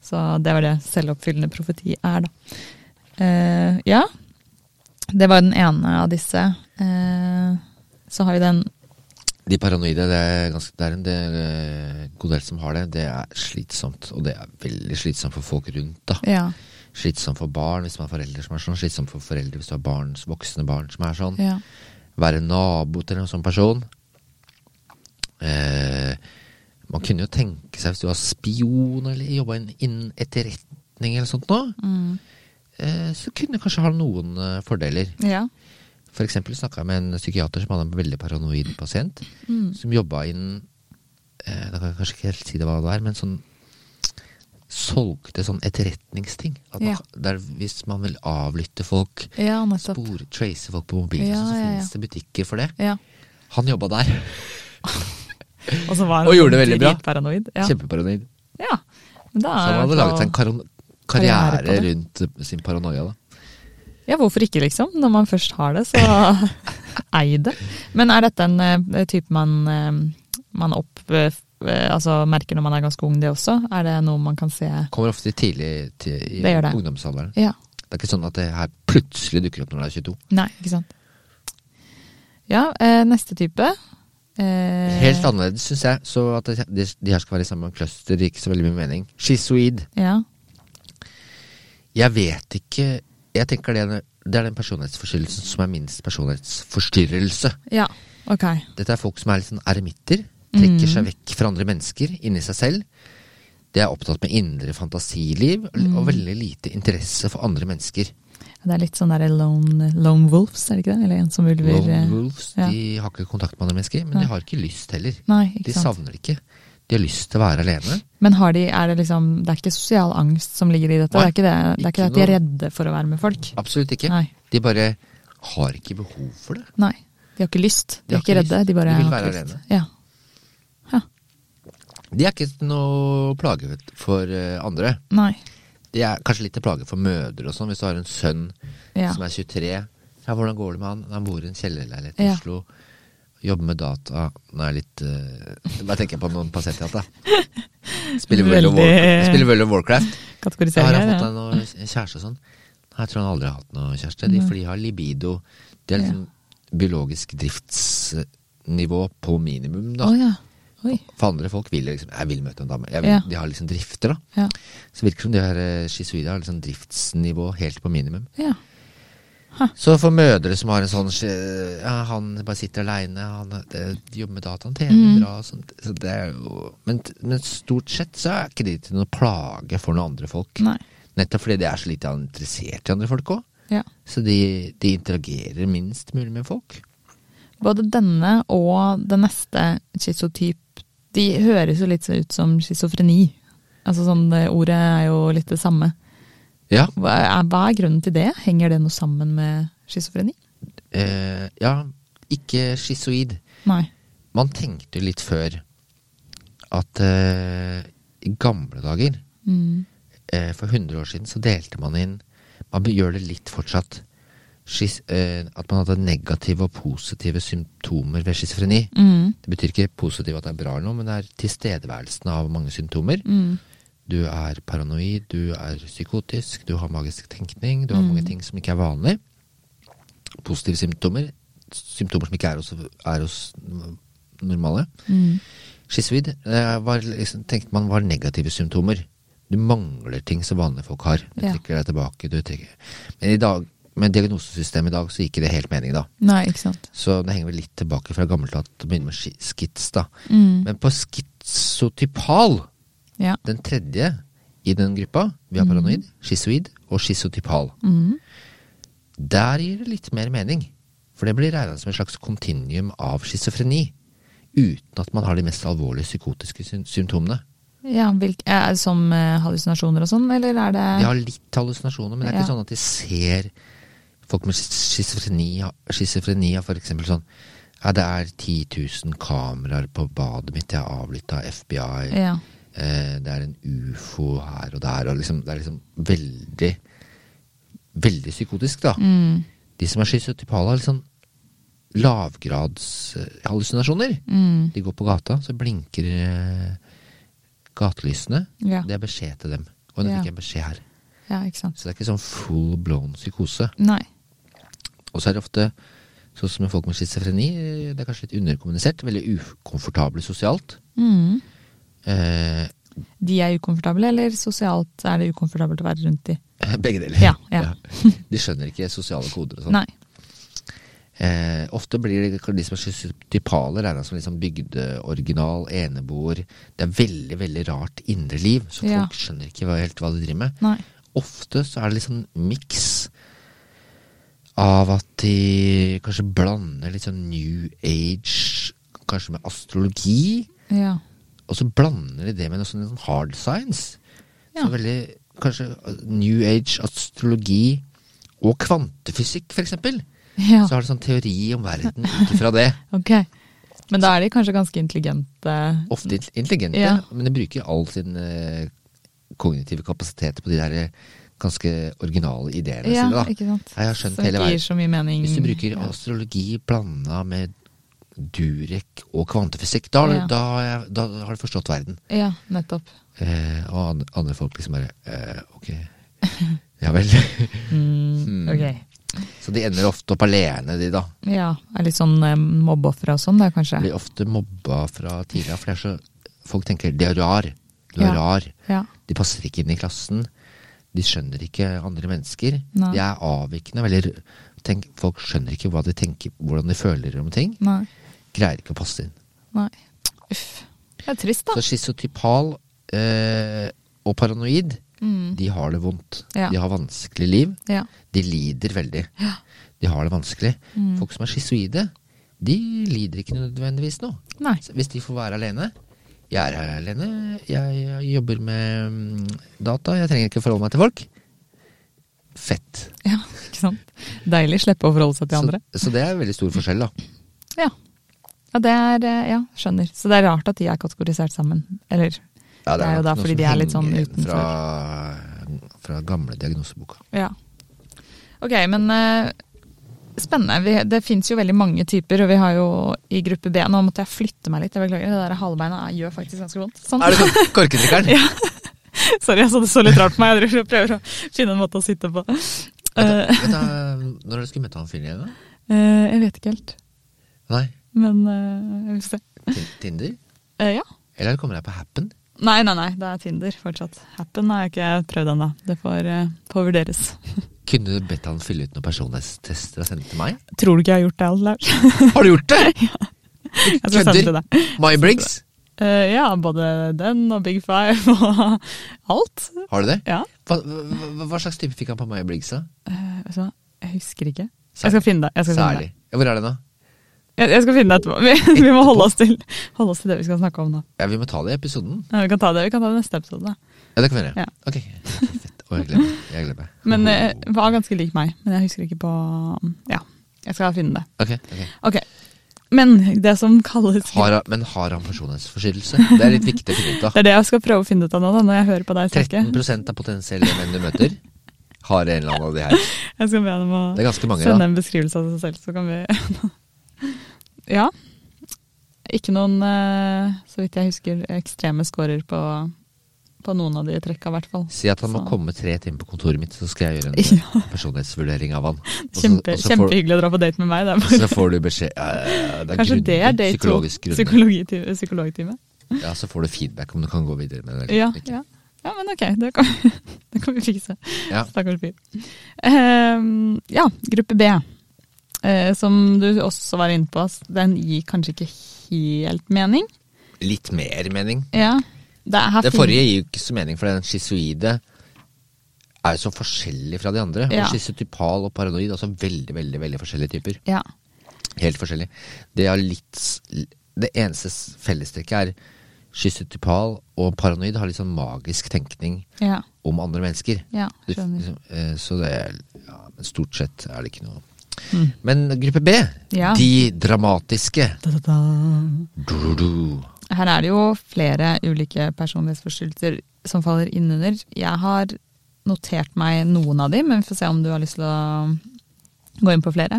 Så det var det selvoppfyllende profeti er, da. Eh, ja, det var den ene av disse. Eh, så har vi den
De paranoide, det er, ganske, det er en del, eh, god del som har det. Det er slitsomt, og det er veldig slitsomt for folk rundt. da.
Ja.
Slitsomt for barn hvis man har foreldre som er sånn. Slitsomt for foreldre hvis du har barn, voksne barn som er sånn.
ja.
Være nabo til en sånn person. Eh, man kunne jo tenke seg hvis du var spion eller jobba innen etterretning eller sånt nå,
Mm.
eh, så kunne du kanskje ha noen eh, fordeler.
ja.
For eksempel snakka jeg med en psykiater som hadde en veldig paranoid pasient,
Mm.
som jobba innen eh, Da kan jeg kanskje ikke helt si det hva det er, men sånn solgte sånn etterretningsting. At man,
Ja.
kan- der, hvis man vil avlytte folk,
Ja, nettopp.
spore, trace folk på mobilen,
Ja,
så, så
ja, ja.
finnes det butikker for det.
Ja.
Han jobba der.
Og så var han
Og gjorde det veldig bra.
dritparanoid. Ja.
Kjempeparanoid.
Ja. Men da
Så
er
han hadde
det i hvert
laget
fall-
en karon-
karriere på
karriere
det.
rundt eh, sin paranoia, da.
Ja, hvorfor ikke, liksom? Når man først har det, så
<laughs>
ei det. Men er dette en eh, type man, eh, man opp, eh, f- eh, altså merker når man er ganske ung, det også? Er det noe man kan se
Kommer ofte tidlig til,
Det
i
gjør det.
ungdomsalderen.
Ja.
Det er ikke sånn at det her plutselig dukker opp når du er 22.
Nei, ikke sant. Ja, eh, neste type. Eh,
Helt annerledes, syns jeg. Så at det- de, de her skal være i samme cluster, gir ikke så veldig mye mening. Schizoid.
Ja.
Jeg vet ikke Jeg tenker det er, det er den personlighetsforstyrrelsen som er minst personlighetsforstyrrelse.
ja, ok.
Dette er folk som er litt sånn eremitter. Trekker
Mm.
seg vekk fra andre mennesker, inni seg selv. Det er opptatt med indre fantasiliv og-
Mm.
og veldig lite interesse for andre mennesker.
Det er litt sånn der lone, lone wolves, er det ikke det? Eller en som ulver
Lone
eh,
wolves
ja.
de har ikke kontakt med andre mennesker, men
Nei.
de har ikke lyst heller.
Nei,
De
ikke sant.
savner det ikke. De har lyst til å være alene.
Men har de, er det liksom Det er ikke sosial angst som ligger i dette?
Nei,
det er ikke det, det er ikke
ikke
det at de er
noe-
redde for å være med folk?
Absolutt ikke.
Nei.
De bare har ikke behov for det.
Nei. De har ikke lyst. De, er ikke
De har ikke
redde.
lyst.
De bare
De vil
har ikke
være
lyst.
alene.
Ja.
De er ikke noe plage for eh, andre.
Nei.
De er kanskje litt til plage for mødre og sånn, hvis du har en sønn
Ja.
som er 23. Ja, hvordan går det med han? Han bor i en kjellerleilighet i
Ja.
Oslo. Jobber med data. Nå er jeg litt eh, Hva tenker jeg på noen
<laughs>
pasienter jeg har hatt, da? Spiller World of
Veldig-
Warcraft. Spiller World of Warcraft. Da har
Kategoriseringer.
han fått
ja.
deg noe kjæreste og sånn. Nei, Jeg tror han aldri har hatt noe kjæreste. De, for de har libido. Det er liksom biologisk driftsnivå på minimum,
Å
da.
ja. Oi.
For andre folk vil liksom Jeg vil møte en dame. Jeg vil,
Ja.
De har liksom drifter, da.
Ja.
Så virker det som de her eh, schizoide har liksom driftsnivå helt på minimum.
ja.
Så for mødre som har en sånn eh, ja, Han bare sitter aleine, han eh, det- jobber med data, han tjener
Mm.
bra og sånt. Så det er jo, men, men stort sett så er ikke de til noen plage for noen andre folk.
Nei.
Nettopp fordi de er så lite interessert i andre folk òg.
Ja.
Så de, de interagerer minst mulig med folk.
Både denne og den neste schizotyp, de høres jo litt så ut som schizofreni. Altså sånn, det ordet er jo litt det samme.
Ja,
Hva er, hva er grunnen til det? Henger det noe sammen med schizofreni?
eh, ja ikke schizoid.
Nei.
Man tenkte jo litt før at eh, i gamle dager,
Mm.
eh, for 100 år siden, så delte man inn Man gjør det litt fortsatt. Schis, eh, at man hadde negative og positive symptomer ved schizofreni.
Mm.
Det betyr ikke positiv at det er bra eller noe, men det er tilstedeværelsen av mange symptomer.
Mm.
Du er paranoid, du er psykotisk, du har magisk tenkning, du har
Mm.
mange ting som ikke er vanlig. Positive symptomer. Symptomer som ikke er hos, er hos normale.
Mm.
Schizoid eh, var liksom, tenkte man var negative symptomer. Du mangler ting som vanlige folk har. Du
Ja.
trekker deg tilbake. Du trekker. Men i dag, med diagnosesystemet i dag så gir ikke det helt mening, da.
Nei, ikke sant.
Så det henger vel litt tilbake fra gammelt at det begynner med ski- skits, da.
Mm.
Men på skitsotypal,
Ja.
den tredje i den gruppa, vi
Mhm.
har paranoid, schizoid og schizotypal,
Mm.
der gir det litt mer mening. For det blir regna som et slags kontinuum av schizofreni. Uten at man har de mest alvorlige psykotiske syn- symptomene.
ja hvilk, er det som eh, hallusinasjoner og sånn, eller er det
De har litt hallusinasjoner, men det er ikke
Ja.
sånn at de ser folk med schizofreni Schizofreni er for eksempel sånn Ja, det er 10 000 kameraer på badet mitt, jeg er avlytta av FBI.
Ja.
Eh, det er en ufo her og der, og liksom, det er liksom veldig Veldig psykotisk, da.
Mm.
De som er schizotypale, har litt sånn lavgradshallusinasjoner.
Mm.
De går på gata, så blinker eh, gatelysene.
Ja.
Det er beskjed til dem. Og nå
Ja.
fikk jeg beskjed her.
ja, ikke sant.
Så det er ikke sånn full blown psykose.
Nei.
Og så er det ofte sånn som med folk med schizofreni, eh, det er kanskje litt underkommunisert. Veldig ukomfortable sosialt. <laughs>
Mm.
Eh,
De er ukomfortable, eller sosialt er det ukomfortabelt å være rundt de?
begge deler.
Ja,
<laughs>
ja.
De skjønner ikke sosiale koder og sånn.
Nei.
Eh, ofte blir det de som er schizotypale, regna som liksom bygdeoriginal, eneboer. Det er veldig veldig rart indre liv, så
Ja.
folk skjønner ikke hva, helt hva de driver med.
Nei.
Ofte så er det liksom miks av at de kanskje blander litt sånn new age, kanskje med astrologi,
Ja.
og så blander de det med noe sånn litt sånn hard science.
Ja.
Så veldig Kanskje eh, new age, astrologi og kvantefysikk, for eksempel.
ja.
Så har de sånn teori om verden ut ifra det.
Ok. Men da er de kanskje ganske intelligente.
Ofte int- intelligente,
Ja.
men de bruker all sin eh, kognitive kapasitet på de der eh, ganske originale ideene
Ja,
sine. da.
ikke sant.
Jeg har skjønt
Som
hele
ikke gir
veien.
så mye mening.
Hvis du bruker astrologi blanda med Durek og kvantefysikk, da, har du-
Ja.
da, har jeg- da har du forstått verden.
Ja, nettopp.
Eh, og andre, andre folk liksom bare eh, Ok,
<laughs>
ja vel. <laughs> Hmm.
Mm, ok.
Så de ender ofte opp alene, de da.
Ja, er litt sånn eh, mobbeofre og sånn da, kanskje.
Blir ofte mobba fra tidlig av. for det er så- Folk tenker 'de er rar', du
Ja.
er rar.
Ja.
De passer ikke inn i klassen. De skjønner ikke andre mennesker.
Nei.
De er avvikende. Veldig, r- tenk, folk skjønner ikke hva de tenker, hvordan de føler om ting.
Nei.
Greier ikke å passe inn.
Nei. Uff. Det er trist, da.
Så schizotypal eh, og paranoid, de har det vondt.
Mm. Ja.
De har vanskelig liv.
Ja.
De lider veldig. De har det vanskelig.
Mm.
Folk som er schizoide, de lider ikke nødvendigvis noe.
Nei.
Så Hvis de får være alene Jeg er her alene, jeg jobber med mm, data, jeg trenger ikke forholde meg til folk. Fett.
Ja, ikke sant. Deilig. Slippe å forholde seg til andre.
Så, så det er veldig stor forskjell, da.
Ja. ja, det er eh, Ja, skjønner. Så det er rart at de er kategorisert sammen. Eller
Ja,
Det er jo
nok
da
noe
fordi
som
de er litt
henger
sånn
igjen Fra, fra gamle
<laughs>
diagnoseboka.
Ja. Ok, men eh, spennende. Vi, det fins jo veldig mange typer, og vi har jo i gruppe B Nå måtte jeg flytte meg litt, jeg beklager. Det der halebeinet er- gjør faktisk ganske vondt. Sånn.
Er det kor- korketrekkeren?
<laughs> Sorry, altså, det så litt rart på meg. Jeg driver og prøver å finne en måte å sitte på. Eh,
Vet du, når dere skulle møte han fyren igjen? da?
eh, jeg vet ikke helt,
Nei,
men eh, vi får se.
Tin- Tinder?
Eh, ja.
Eller kommer jeg på Happen?
Nei, nei, nei, det er Tinder fortsatt. Happen har jeg ikke prøvd ennå. Det får, eh, får vurderes.
Kunne du bedt han fylle ut noen personlighetstester og sende til
<laughs>
meg?
Tror du ikke jeg har gjort det, Lars?
Har du gjort det?!
<laughs> Jeg skal sende
Kødder.
til deg.
My Briggs,
Eh, ja, både den og Big Five <laughs> og alt.
har du det?
Ja.
Hva, hva, hva slags type fikk han på My Briggs, da?
Eh, vet du hva? jeg husker ikke.
Særlig.
Jeg skal finne det. Jeg skal finne det,
Særlig. Ja, Hvor er det nå?
jeg, jeg skal finne det etterpå. Vi, vi må holde oss, til, holde oss til det vi skal snakke om nå.
Ja, Vi må ta det i episoden.
Ja, vi kan ta det vi kan ta det i neste episode. Da.
Ja, det kan vi gjøre.
Ja.
Ok. Fett. Å, jeg gleder meg. Jeg gleder meg.
Men eh, var ganske lik meg. Men jeg husker ikke på Ja, jeg skal finne det.
Ok, ok.
Ok. Men det som kalles
Har han, men har han personlighetsforstyrrelse? Det er litt viktig å finne ut av.
<laughs> Det er det jeg skal prøve å finne ut av nå, da, når jeg hører på deg snakke.
13 av potensielle menn du møter, har en eller annen av de her.
Jeg skal be ham om å
Det er ganske mange,
sende
da.
en beskrivelse av seg selv, så kan vi <laughs> Ja. Ikke noen, eh, så vidt jeg husker, ekstreme scorer på, på noen av de trekka, i hvert fall.
Si at han må
Så-
komme tre timer på kontoret mitt, så skal jeg gjøre
<laughs>
en
Ja,
personlighetsvurdering av han. Og så-
kjempe,
og så får-
kjempehyggelig å dra på date med meg. Det er bare,
Så får du beskjed eh, det
<laughs>
er
kanskje det er
grunner,
date to.
Psykologisk grunner.
Psykologitime. psykologtime.
Ja, så får du feedback om du kan gå videre med det. eller
Ja,
ikke.
ja. ja, men ok, det kan, vi- <laughs> det kan vi fikse.
Ja.
Stakkars fyr. Ehm, ja, gruppe B. Eh, som du også var inne på, den gir kanskje ikke helt mening.
Litt mer mening.
Ja. Det, er- her
Det
fin-
forrige gir jo ikke så mening, for den schizoide er jo så forskjellig fra de andre.
Ja.
Og schizotypal og paranoid, altså veldig, veldig, veldig forskjellige typer.
Ja.
Helt forskjellig. Det, er litt, s- det eneste s- fellestrekket er schizotypal og paranoid har litt sånn magisk tenkning
ja.
om andre mennesker.
Ja,
Det-
skjønner.
liksom, eh, Så det er ja, men Stort sett er det ikke noe
Mm.
Men gruppe B,
Ja.
de dramatiske du-du-du.
Her er det jo flere ulike personlighetsforstyrrelser som faller innunder. Jeg har notert meg noen av de, men vi får se om du har lyst til å gå inn på flere.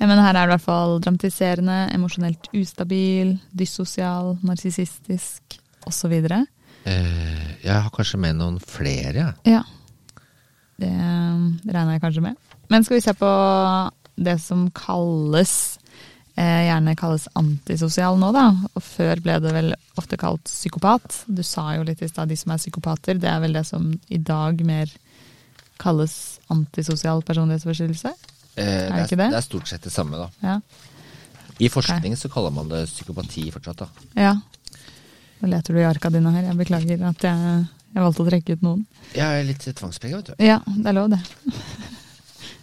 Eh, Men her er det i hvert fall dramatiserende, emosjonelt ustabil, dyssosial, narsissistisk osv.
Eh, Jeg har kanskje med noen flere. jeg.
Ja. Det eh, regner jeg kanskje med. Men skal vi se på det som kalles eh, Gjerne kalles antisosial nå, da. Og før ble det vel ofte kalt psykopat. Du sa jo litt i stad de som er psykopater. Det er vel det som i dag mer kalles antisosial personlighetsforstyrrelse?
Eh,
det ikke det?
det er stort sett det samme, da.
Ja.
I forskning så kaller man det psykopati fortsatt, da.
ja. Nå leter du i arka dine her. Jeg beklager at jeg, jeg valgte å trekke ut noen.
Jeg er litt tvangsprega, vet du.
Ja, det <laughs> er lov, det.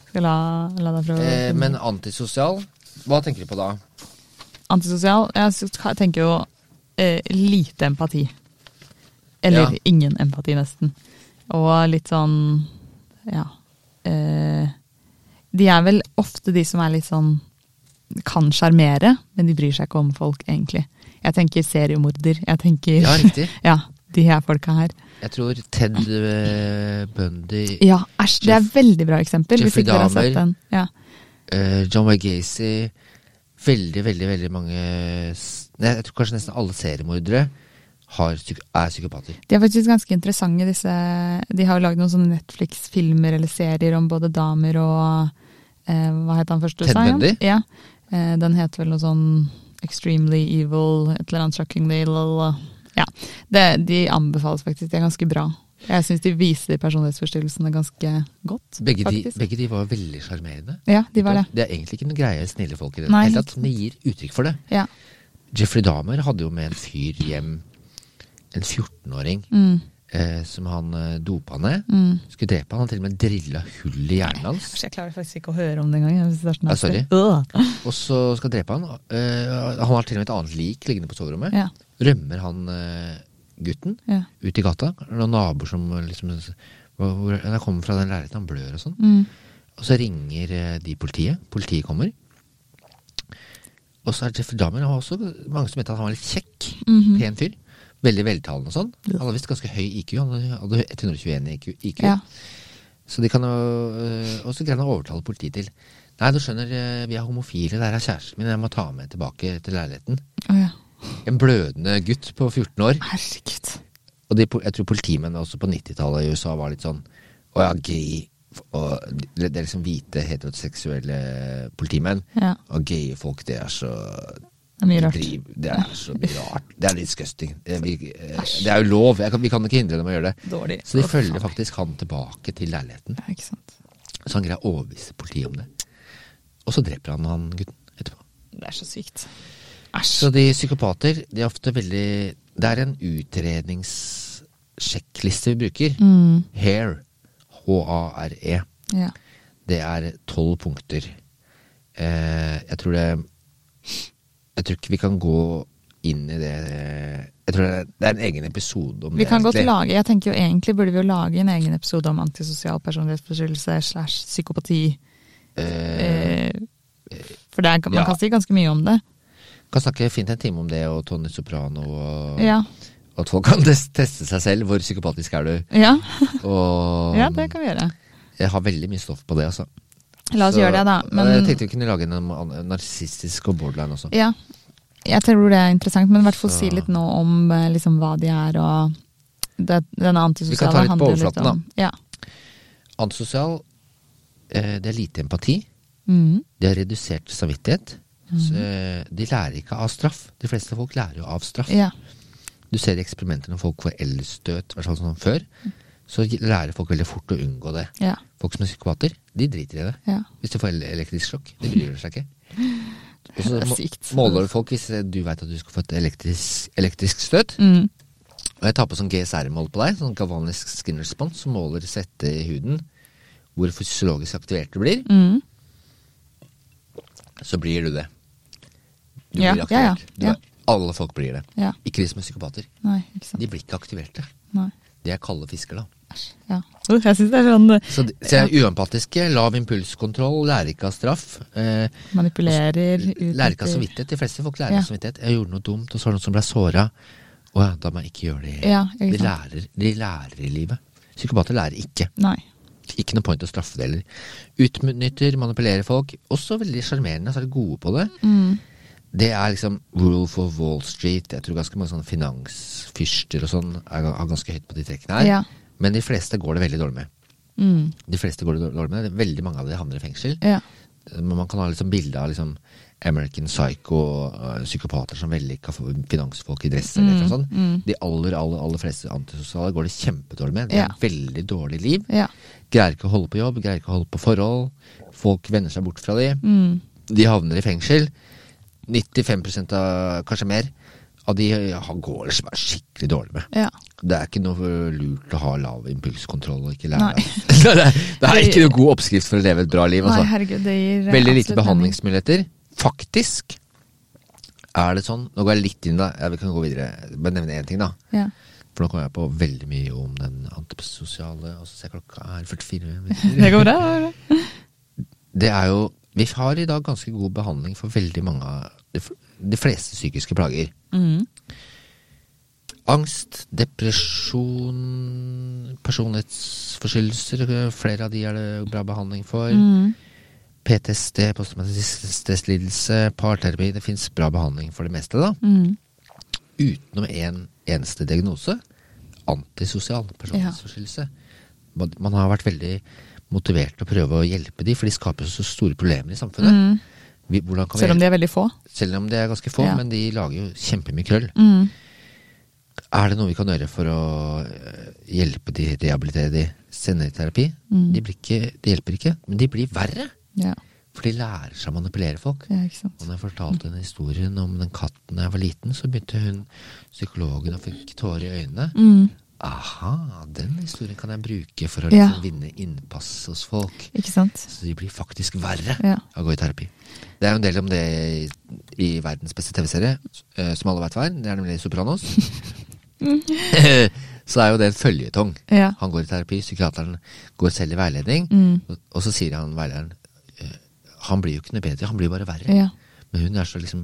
Skal la, la deg prøve. å
Eh,
finne-
Men antisosial, hva tenker du på da?
Antisosial Jeg s- tenker jo eh, lite empati. Eller
Ja.
ingen empati, nesten. Og litt sånn Ja. Eh, de er vel ofte de som er litt sånn Kan sjarmere, men de bryr seg ikke om folk, egentlig. Jeg tenker seriemorder. Jeg tenker
Ja, riktig.
<laughs> ja, de her folka her.
Jeg tror Ted eh, Bundy,
Ja, æsj, det er
Jeff-
veldig bra eksempel. Hvis
Jeffrey
ikke dere har
Dahmer.
sett den. Ja.
eh, John Wayne Gacy Veldig, veldig veldig mange s- Nei, Jeg tror kanskje nesten alle seriemordere har, psyk- er psykopater.
De er faktisk ganske interessante, disse De har jo lagd noen sånne Netflix-filmer eller serier om både damer og eh, Hva het han første?
Ted
sa igjen?
Bundy?
Ja. Eh, den heter vel noe sånn Extremely Evil, et eller annet shockingly lala. Ja. Det, de anbefales faktisk. De er ganske bra. Jeg syns de viser personlighetsforstyrrelsene ganske godt.
Begge de,
faktisk.
begge de var veldig sjarmerende.
Ja, de var det.
Det er egentlig ikke noen greie snille folk i det
Nei.
hele tatt, men de gir uttrykk for det.
Ja.
Jeffrey Dahmer hadde jo med en fyr hjem, en 14-åring,
Mm.
eh, som han eh, dopa ned.
Mm.
Skulle drepe han, han til og med drilla hull i hjernen hans.
Jeg klarer faktisk ikke å høre om det engang. hvis det er sånn
Ja,
at-
sorry.
Øh.
Og så skal drepe han. Eh, han har til og med et annet lik liggende på soverommet.
Ja,
Rømmer han eh, gutten
ja.
ut i gata. Er det Noen naboer som liksom hvor, hvor, Han kommer fra den leiligheten, han blør og sånn.
Mm.
Og så ringer eh, de politiet. Politiet kommer. Og så er Jeffrey Dahmer han var også mange som mente at han var litt kjekk.
Mhm.
Pen fyr. Veldig veltalende og sånn.
Ja.
Han hadde visst ganske høy IQ. Han hadde 121 IQ. IQ.
ja.
Så de kan jo øh, Og så greide han å overtale politiet til Nei, du skjønner, øh, vi er homofile. Der er kjæresten min. Jeg må ta med tilbake til leiligheten.
Å ja.
En blødende gutt på 14 år.
Herregud.
Og de, po- jeg tror politimennene også på 90-tallet i USA var litt sånn Å ja, gay og, Det det er liksom hvite, heteroseksuelle politimenn.
Ja.
Og gay folk, det er så
Det er mye rart.
driv- Det er så mye rart. Det er disgusting. Det, vi, eh, det er jo lov. Jeg kan, vi kan ikke hindre dem å gjøre det.
Dårlig.
Så de
Å,
følger
faen.
faktisk han tilbake til leiligheten.
Ja, ikke sant.
Så han greier å overbevise politiet om det. Og så dreper han han gutten etterpå.
Det er så sykt.
Så
Æsj.
de psykopater, de er ofte veldig Det er en utredningssjekkliste vi bruker.
Mm.
HARE. H-a-r-e.
Ja.
E. Det er tolv punkter. Eh, jeg tror det Jeg tror ikke vi kan gå inn i det Jeg tror det er, det er en egen episode om
Vi
det.
kan godt
egentlig.
lage, jeg tenker jo Egentlig burde vi jo lage en egen episode om antisosial personlighetsforstyrrelse slash psykopati.
Eh,
Eh, for det er, man
ja.
kan si ganske mye om det.
kan snakke fint en time om det og Tony Soprano og
Ja.
og At folk kan tes- teste seg selv. Hvor psykopatisk er du?
Ja. <laughs>
Og
ja, det kan vi gjøre.
jeg har veldig mye stoff på det, altså.
La oss
Så-
gjøre det, da. Men
Jeg tenkte vi kunne lage en om an- narsistisk og borderline også.
Ja, jeg tror det er interessant, men i hvert fall si
Så-
litt nå om eh, liksom, hva de er og det, denne
Vi kan ta
antisosiale
litt på overflaten, da.
Ja.
Antisosial, eh, det er lite empati.
Mhm.
De har redusert samvittighet. Så, eh, de lærer ikke av straff. De fleste folk lærer jo av straff.
ja.
Du ser i eksperimenter når folk får elstøt, i hvert fall sånn før, så lærer folk veldig fort å unngå det.
Mhm. Ja.
Folk som er psykopater, de driter i det.
Ja.
Hvis de får el- elektrisk sjokk. De bryr de seg ikke. Og så
Det er
må-
sykt.
måler du folk hvis eh, du veit at du skal få et elektrisk, elektrisk støt.
Mhm.
Og jeg tar på sånn GSR-mål på deg, sånn galvanisk skin response, som måler svette i huden, hvor fysiologisk aktivert du blir,
Mhm.
så blir du det. Du
Ja,
blir
ja, ja,
aktivert. Du
ja.
er- alle folk blir det.
ja.
Ikke de som er psykopater.
Nei, ikke sant.
De blir ikke aktiverte.
Nei.
De er kalde fisker, da.
Æsj. Ja. Uh, jeg syns det er sånn eh,
Så, de, så jeg er uempatiske, lav impulskontroll, lærer ikke av straff. Eh,
manipulerer
lærer ikke av
utnytter.
samvittighet. De fleste folk lærer
Ja.
av samvittighet. Jeg gjorde noe dumt, og så var det noen som ble såra. Å ja, da må jeg ikke gjøre det.
Ja, ikke
de,
sant.
lærer, de lærer i livet. Psykopater lærer ikke.
Nei.
Ikke noe point å straffe det heller. Utnytter, manipulerer folk. Også veldig sjarmerende, så er de gode på det.
Mhm.
Det er liksom Rule for Wall Street. Jeg tror ganske mange sånne finansfyrster og sånn er ga- er ganske høyt på de trekkene her.
Ja.
Men de fleste går det veldig dårlig med.
Mhm.
De fleste går det dårlig med. Veldig mange av de havner i fengsel.
Ja.
Men man kan ha liksom bilde av liksom American Psycho, øh, psykopater som vellykka finansfolk i dress eller noe
Mm,
sånt. De aller, aller, aller fleste antisosiale går det kjempedårlig med. De har
Ja.
veldig dårlig liv.
Ja.
Greier ikke å holde på jobb, greier ikke å holde på forhold. Folk vender seg bort fra de.
Mhm.
De havner i fengsel. 95 av, kanskje mer, av de har- går det som er skikkelig dårlig med.
ja.
Det er ikke noe lurt å ha lav impulskontroll og ikke lære
Nei.
<laughs> det. er- Det er ikke noe god oppskrift for å leve et bra liv.
Nei,
Altså.
herregud, det gir eh,
Veldig
absolutt
lite
mening.
behandlingsmuligheter. Faktisk er det sånn Nå går jeg litt inn da, ja, vi kan gå videre. Jeg vil Bare nevne én ting, da.
Ja.
For nå kommer jeg på veldig mye om den antisosiale Og så ser jeg klokka er 44
<laughs> Det
minutter.
går bra. det går bra.
Det er jo Vi har i dag ganske god behandling for veldig mange av de f- de fleste psykiske plager.
Mhm.
Angst, depresjon, personlighetsforstyrrelser. Flere av de er det bra behandling for.
Mhm.
PTSD, posttraumatisk stresslidelse, parterapi. Det fins bra behandling for det meste, da.
Mhm.
Utenom én eneste diagnose. Antisosial personlighetsforstyrrelse. Man- Man har vært veldig motivert til å prøve å hjelpe de, for de skaper jo så store problemer i samfunnet.
Mhm.
Vi, hvordan kan vi
Selv om de er veldig få.
selv om de er ganske få,
Ja.
men de lager jo kjempemye krøll.
Mhm.
Er det noe vi kan gjøre for å øh, hjelpe de,
Mm.
rehabilitere de? Sendeterapi? De, blir ikke, de hjelper ikke, men de blir verre.
Ja.
For de lærer seg å manipulere folk.
Ja, ikke sant.
Og når jeg fortalte henne historien om den katten da jeg var liten, så begynte hun psykologen og fikk tårer i øynene.
Mm,
Aha, den historien kan jeg bruke for å
Ja.
liksom vinne innpass hos folk.
ikke sant.
Så de blir faktisk verre
Ja.
av å gå i terapi. Det er jo en del om det i, i verdens beste TV-serie, eh, som alle veit hva er. Det er nemlig
<laughs>
Sopranos. så er jo det en føljetong.
Ja.
Han går i terapi, psykiateren går selv i veiledning,
Mm,
og, og så sier han veilederen eh, han blir jo ikke noe bedre, han blir bare verre.
ja.
Men hun er så liksom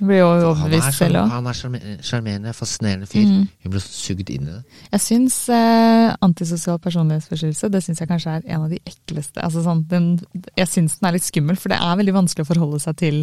Jeg Blir jo
Han er
overbevist
så-
selv òg.
han er sjarme- sjarmerende, fascinerende fyr.
Mm.
Hun blir så sugd inn i det.
Jeg syns eh, antisosial personlighetsforstyrrelse det synes jeg kanskje er en av de ekleste. Altså, sånn, den, jeg syns den er litt skummel, for det er veldig vanskelig å forholde seg til,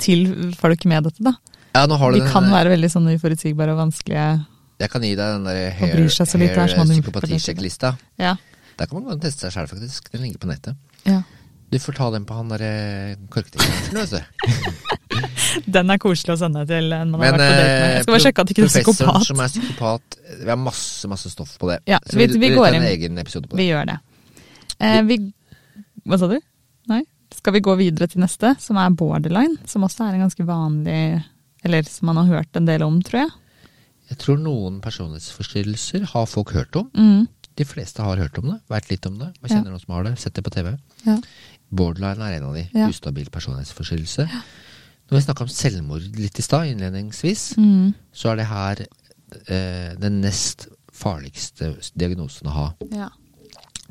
til folk med dette. da.
Ja, nå har du
De
den
kan
der-
være veldig sånn uforutsigbare og vanskelige.
Jeg kan gi deg den der
Og bryr seg så lite, det er som om du-
hair-psykopatisjekklista.
Ja.
Der kan man gå og teste seg sjæl, faktisk. Den ligger på nettet.
ja.
Du får ta den på han derre korkdikten. vet du.
<laughs> Den er koselig å sende til en man har
Men
vært på date med. Jeg skal bare
eh,
sjekke at ikke du er
professoren som
psykopat.
er psykopat eh, Vi har masse, masse stoff på det.
Ja,
Så
vi-
vil-
vi
vil
går
ta en
inn.
egen episode på det.
Vi gjør det. Eh, vi Hva sa du? Nei? Skal vi gå videre til neste, som er borderline? Som også er en ganske vanlig Eller som man har hørt en del om, tror jeg.
Jeg tror noen personlighetsforstyrrelser har folk hørt om.
Mm.
De fleste har hørt om det, veit litt om det. Jeg
Ja.
kjenner noen som har det, sett det på TV.
Ja.
Borderline er en av de.
Ja.
Ustabil personlighetsforstyrrelse. Når vi snakka om selvmord litt i stad, innledningsvis,
Mm.
så er det her eh, den nest farligste diagnosen å ha.
Ja.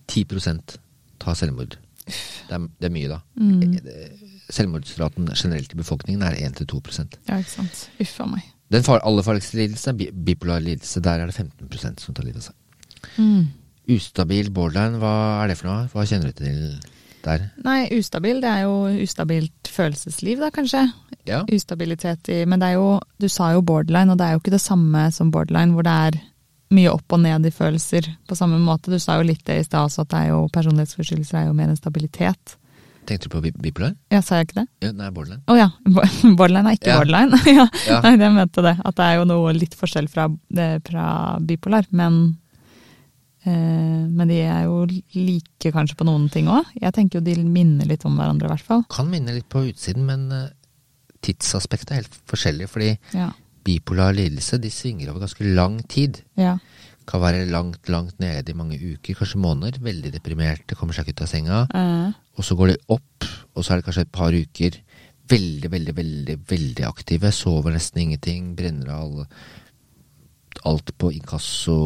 10 tar selvmord. Det er, det er mye, da. Eh, Selvmordsraten generelt i befolkningen er 1-2
ja, ikke sant. Uff a meg.
Den far, aller farligste lidelsen er bi- bipolar lidelse. Der er det 15 som tar livet av seg.
Mm.
Ustabil borderline, hva er det for noe? Hva kjenner du til der?
Nei, ustabil, det er jo ustabilt følelsesliv da, kanskje.
Ja.
Ustabilitet i Men det er jo, du sa jo borderline, og det er jo ikke det samme som borderline, hvor det er mye opp og ned i følelser på samme måte. Du sa jo litt det i stad også, at det er jo personlighetsforstyrrelser er jo mer en stabilitet.
Tenkte du på bi- bipolar?
Ja, sa jeg ikke det?
Ja, nei, borderline.
Å ja, <laughs> bo- borderline er ikke
Ja.
borderline. <laughs> ja.
Ja.
Nei, det mente det. At det er jo noe litt forskjell fra, det- fra bipolar. Men, eh, men de er jo like kanskje på noen ting òg. Jeg tenker jo de minner litt om hverandre i hvert fall.
Kan minne litt på utsiden, men eh, tidsaspektet er helt forskjellig. Fordi
Ja.
bipolar lidelse de svinger over ganske lang tid.
ja.
Kan være langt, langt nede i mange uker, kanskje måneder. Veldig deprimerte, kommer seg ikke ut av senga.
Eh,
Og så går de opp, og så er det kanskje et par uker veldig, veldig, veldig veldig aktive. Sover nesten ingenting, brenner av alle- alt på inkasso,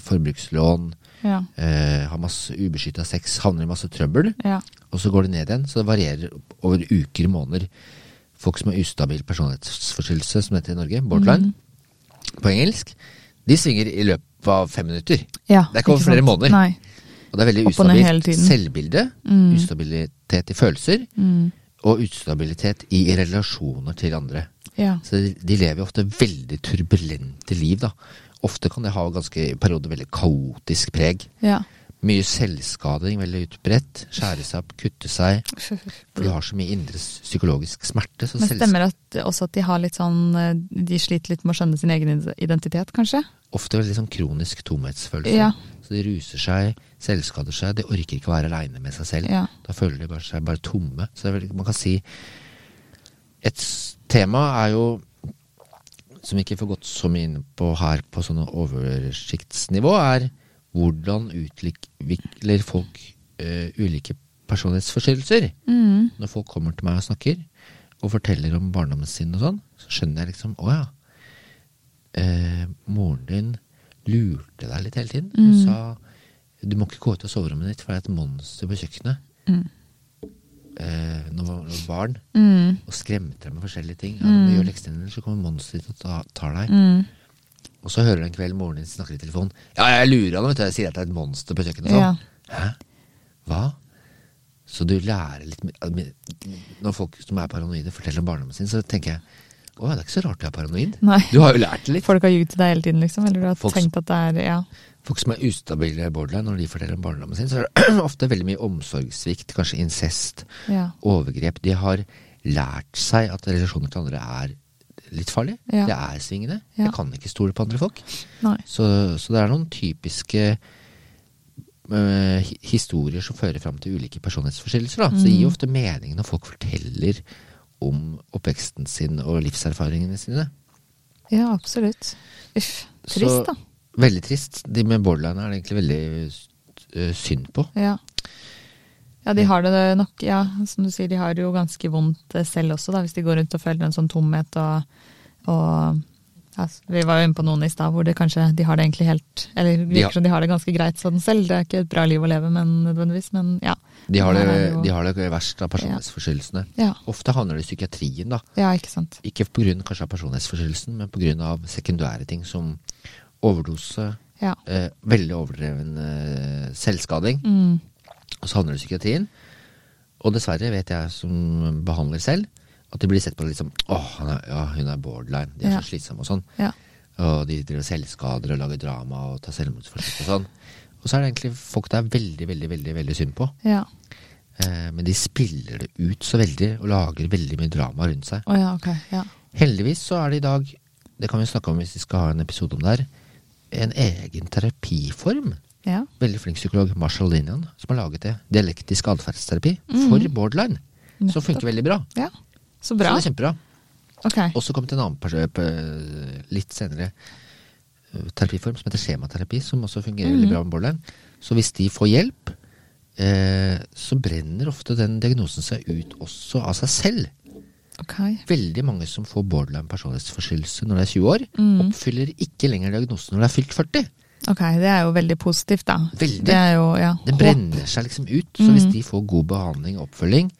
forbrukslån.
ja.
Eh, har masse ubeskytta sex, havner i masse trøbbel.
Ja.
Og så går det ned igjen, så det varierer over uker, måneder. Folk som har ustabil personlighetsforstyrrelse, som det heter i Norge,
Mm.
borderline, på engelsk, de svinger i løpet av fem minutter.
ja.
Det er ikke over flere
sant?
måneder.
Nei.
Og det er veldig
Opp og ned hele
ustabilt
tiden.
selvbilde,
Mm.
ustabilitet i følelser
Mm.
og ustabilitet i relasjoner til andre.
Ja.
Så de, de lever jo ofte veldig turbulente liv, da. Ofte kan det ha ganske i perioder veldig kaotisk preg.
ja.
Mye selvskading, veldig utbredt. Skjære seg opp, kutte seg. For du har så mye indre s- psykologisk smerte. Så
Men
selv-
stemmer at også at de har litt sånn eh, De sliter litt med å skjønne sin egen identitet, kanskje?
ofte veldig sånn kronisk tomhetsfølelse.
Ja.
Så de ruser seg, selvskader seg, de orker ikke å være aleine med seg selv.
Ja.
Da føler de bare seg bare tomme. Så det er veldig, man kan si Et s- tema er jo som vi ikke får gått så mye inn på her på sånne oversiktsnivå, er hvordan utvikler folk eh, ulike personlighetsforstyrrelser?
Mm.
Når folk kommer til meg og snakker, og forteller om barndommen sin og sånn, så skjønner jeg liksom Å ja. Eh, moren din lurte deg litt hele tiden. Hun
Mm.
sa du må ikke gå ut av soverommet ditt, for det er et monster på kjøkkenet.
Mm.
Eh, når jeg var barn,
Mm.
og skremte deg med forskjellige ting. Ja, når du gjør leksene dine, så kommer monsteret ditt og ta- tar deg.
Mm.
Og så hører du en kveld moren din snakker i telefonen. Ja, jeg lurer han, vet du. Jeg sier at det er et monster på kjøkkenet. og
Ja.
Sånn. Hæ? Hva? Så du lærer litt mer- mer- Når folk som er paranoide, forteller om barndommen sin, så tenker jeg å, det er ikke så rart du er paranoid.
Nei.
Du har jo lært det litt.
Folk har ljugd til deg hele tiden, liksom? Eller du har
Folk som-
tenkt at det er Ja.
Folk som er ustabile borderline, når de forteller om barndommen sin, så er det <clears throat> ofte veldig mye omsorgssvikt, kanskje incest,
ja.
overgrep. De har lært seg at relasjoner til andre er litt farlig.
Ja.
Det er svingende.
Ja.
Jeg kan ikke stole på andre folk.
Nei.
Så, så det er noen typiske eh, hi- historier som fører fram til ulike personlighetsforstyrrelser. Da. Så det gir jo
Mm.
ofte mening når folk forteller om oppveksten sin og livserfaringene sine.
Ja, absolutt. Uff.
Så-
Trist, da.
Veldig trist. De med borderline er det egentlig veldig eh, synd på.
Ja. ja, de har det nok, ja. Som du sier, de har det jo ganske vondt eh, selv også, da, hvis de går rundt og føler en sånn tomhet og, og ja, s- Vi var jo inne på noen i stad hvor det kanskje, de har det egentlig helt Eller det
har-
virker som de har det ganske greit sånn selv. Det er ikke et bra liv å leve, men nødvendigvis. Men ja.
De har det,
Her er det jo-
de har det verst av personlighetsforstyrrelsene.
Ja,
Ofte havner de i psykiatrien, da.
ja ikke sant.
Ikke pga. kanskje av personlighetsforstyrrelsen, men pga. sekundære ting som overdose,
Ja.
eh, veldig overdreven eh, selvskading,
Mm.
og så havner du i psykiatrien. Og dessverre vet jeg som behandler selv, at de blir sett på litt som åh, han er, ja, hun er borderline, de er
Ja.
så slitsomme og sånn.
Ja.
Og de driver og selvskader og lager drama og tar selvmordsforsøk og sånn. Og så er det egentlig folk det er veldig, veldig, veldig, veldig synd på.
ja.
Eh, men de spiller det ut så veldig, og lager veldig mye drama rundt seg.
Å ja, ok. Ja.
Heldigvis så er det i dag, det kan vi snakke om hvis vi skal ha en episode om det her, en egen terapiform.
ja.
Veldig flink psykolog Marshall Linian som har laget det. Dialektisk atferdsterapi for borderline. Som funker veldig bra.
ja. Så bra.
Så det er kjempebra.
Ok.
Og så kom det en annen pers- p- litt senere eh, terapiform som heter skjematerapi, som også fungerer veldig bra med borderline. Så hvis de får hjelp, eh, så brenner ofte den diagnosen seg ut også av seg selv.
ok.
Veldig mange som får borderline personlighetsforstyrrelse når de er 20 år, oppfyller ikke lenger diagnosen når de er fylt 40.
Ok, det er jo veldig positivt, da.
Veldig.
Det er jo, ja.
Det brenner seg liksom ut. Så hvis
Mm.
de får god behandling og oppfølging,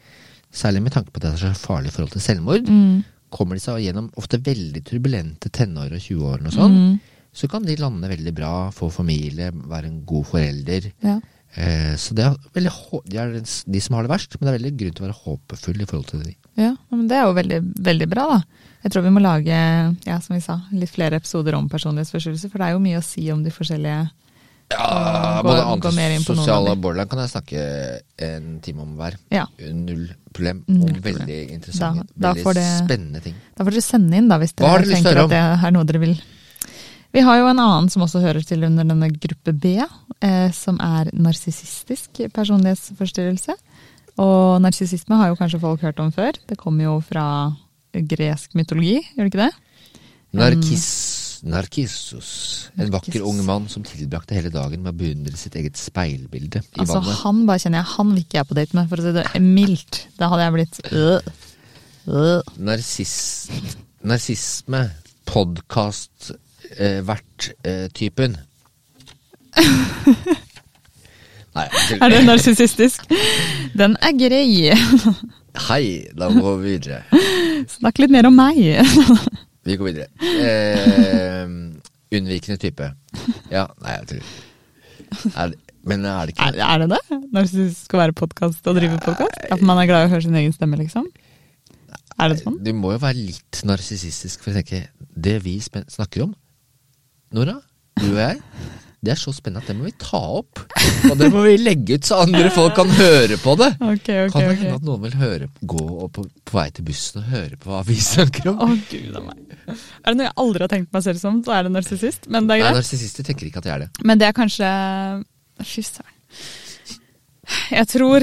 særlig med tanke på at det er så farlig i forhold til selvmord,
Mm.
kommer de seg gjennom ofte veldig turbulente tenår og 20-årene og sånn,
Mm.
så kan de lande veldig bra, få familie, være en god forelder.
Ja.
Eh, så det er veldig, hå- de er de som har det verst, men det er veldig grunn til å være håpefull i forhold til de.
Ja, men det er jo veldig, veldig bra, da. Jeg tror vi må lage ja, som vi sa, litt flere episoder om personlighetsforstyrrelser, for det er jo mye å si om de forskjellige
Ja,
Gå- både gå mer inn på noen av
antisosiale
de.
borderline kan jeg snakke en time om hver.
Ja.
Null problem.
Null
og
problem.
veldig interessante,
Da- da får
veldig
det-
spennende ting.
Da får dere sende inn, da, hvis
Hva har
dere
dere lyst
tenker
til å høre
at det er noe dere vil. Vi har jo en annen som også hører til under denne gruppe B, eh, som er narsissistisk personlighetsforstyrrelse. Og narsissisme har jo kanskje folk hørt om før. Det kommer jo fra gresk mytologi, gjør det ikke det?
Narkis, Narkissus. En
Mm. Narkissus.
vakker ung mann som tilbrakte hele dagen med å beundre sitt eget speilbilde i
Altså,
vannet.
han bare kjenner jeg, han vil ikke jeg på date med, for å si det mildt. Da hadde jeg blitt øh, øh.
Narsiss- Narsisme. eh,
<laughs>
Podkast-vert-typen. Nei, til-
Er det narsissistisk? Den er grei. <laughs>
hei, da må vi videre.
Snakk litt mer om meg.
Vi går videre. Eh, unnvikende type. Ja, nei, jeg tror er det, Men er det ikke
Er, er det det? Narsissist skal være podkast og drive podkast? At man er glad i å høre sin egen stemme, liksom? Er det sånn?
Du må jo være litt narsissistisk for å tenke Det vi spen- snakker om, Nora, du og jeg, <laughs> det er så spennende at det må vi ta opp. Og det må vi legge ut så andre folk kan høre på det.
<laughs> Ok, ok,
kan det hende
ok.
at noen vil høre, gå opp på, på vei til bussen og høre på hva vi snakker
Å,
om?
gud a meg. Er det noe jeg aldri har tenkt meg selv som, så er det narsissist. Men det er
Nei,
greit.
Narsissister tenker ikke at jeg er det.
Men det er kanskje Fy søren. Jeg tror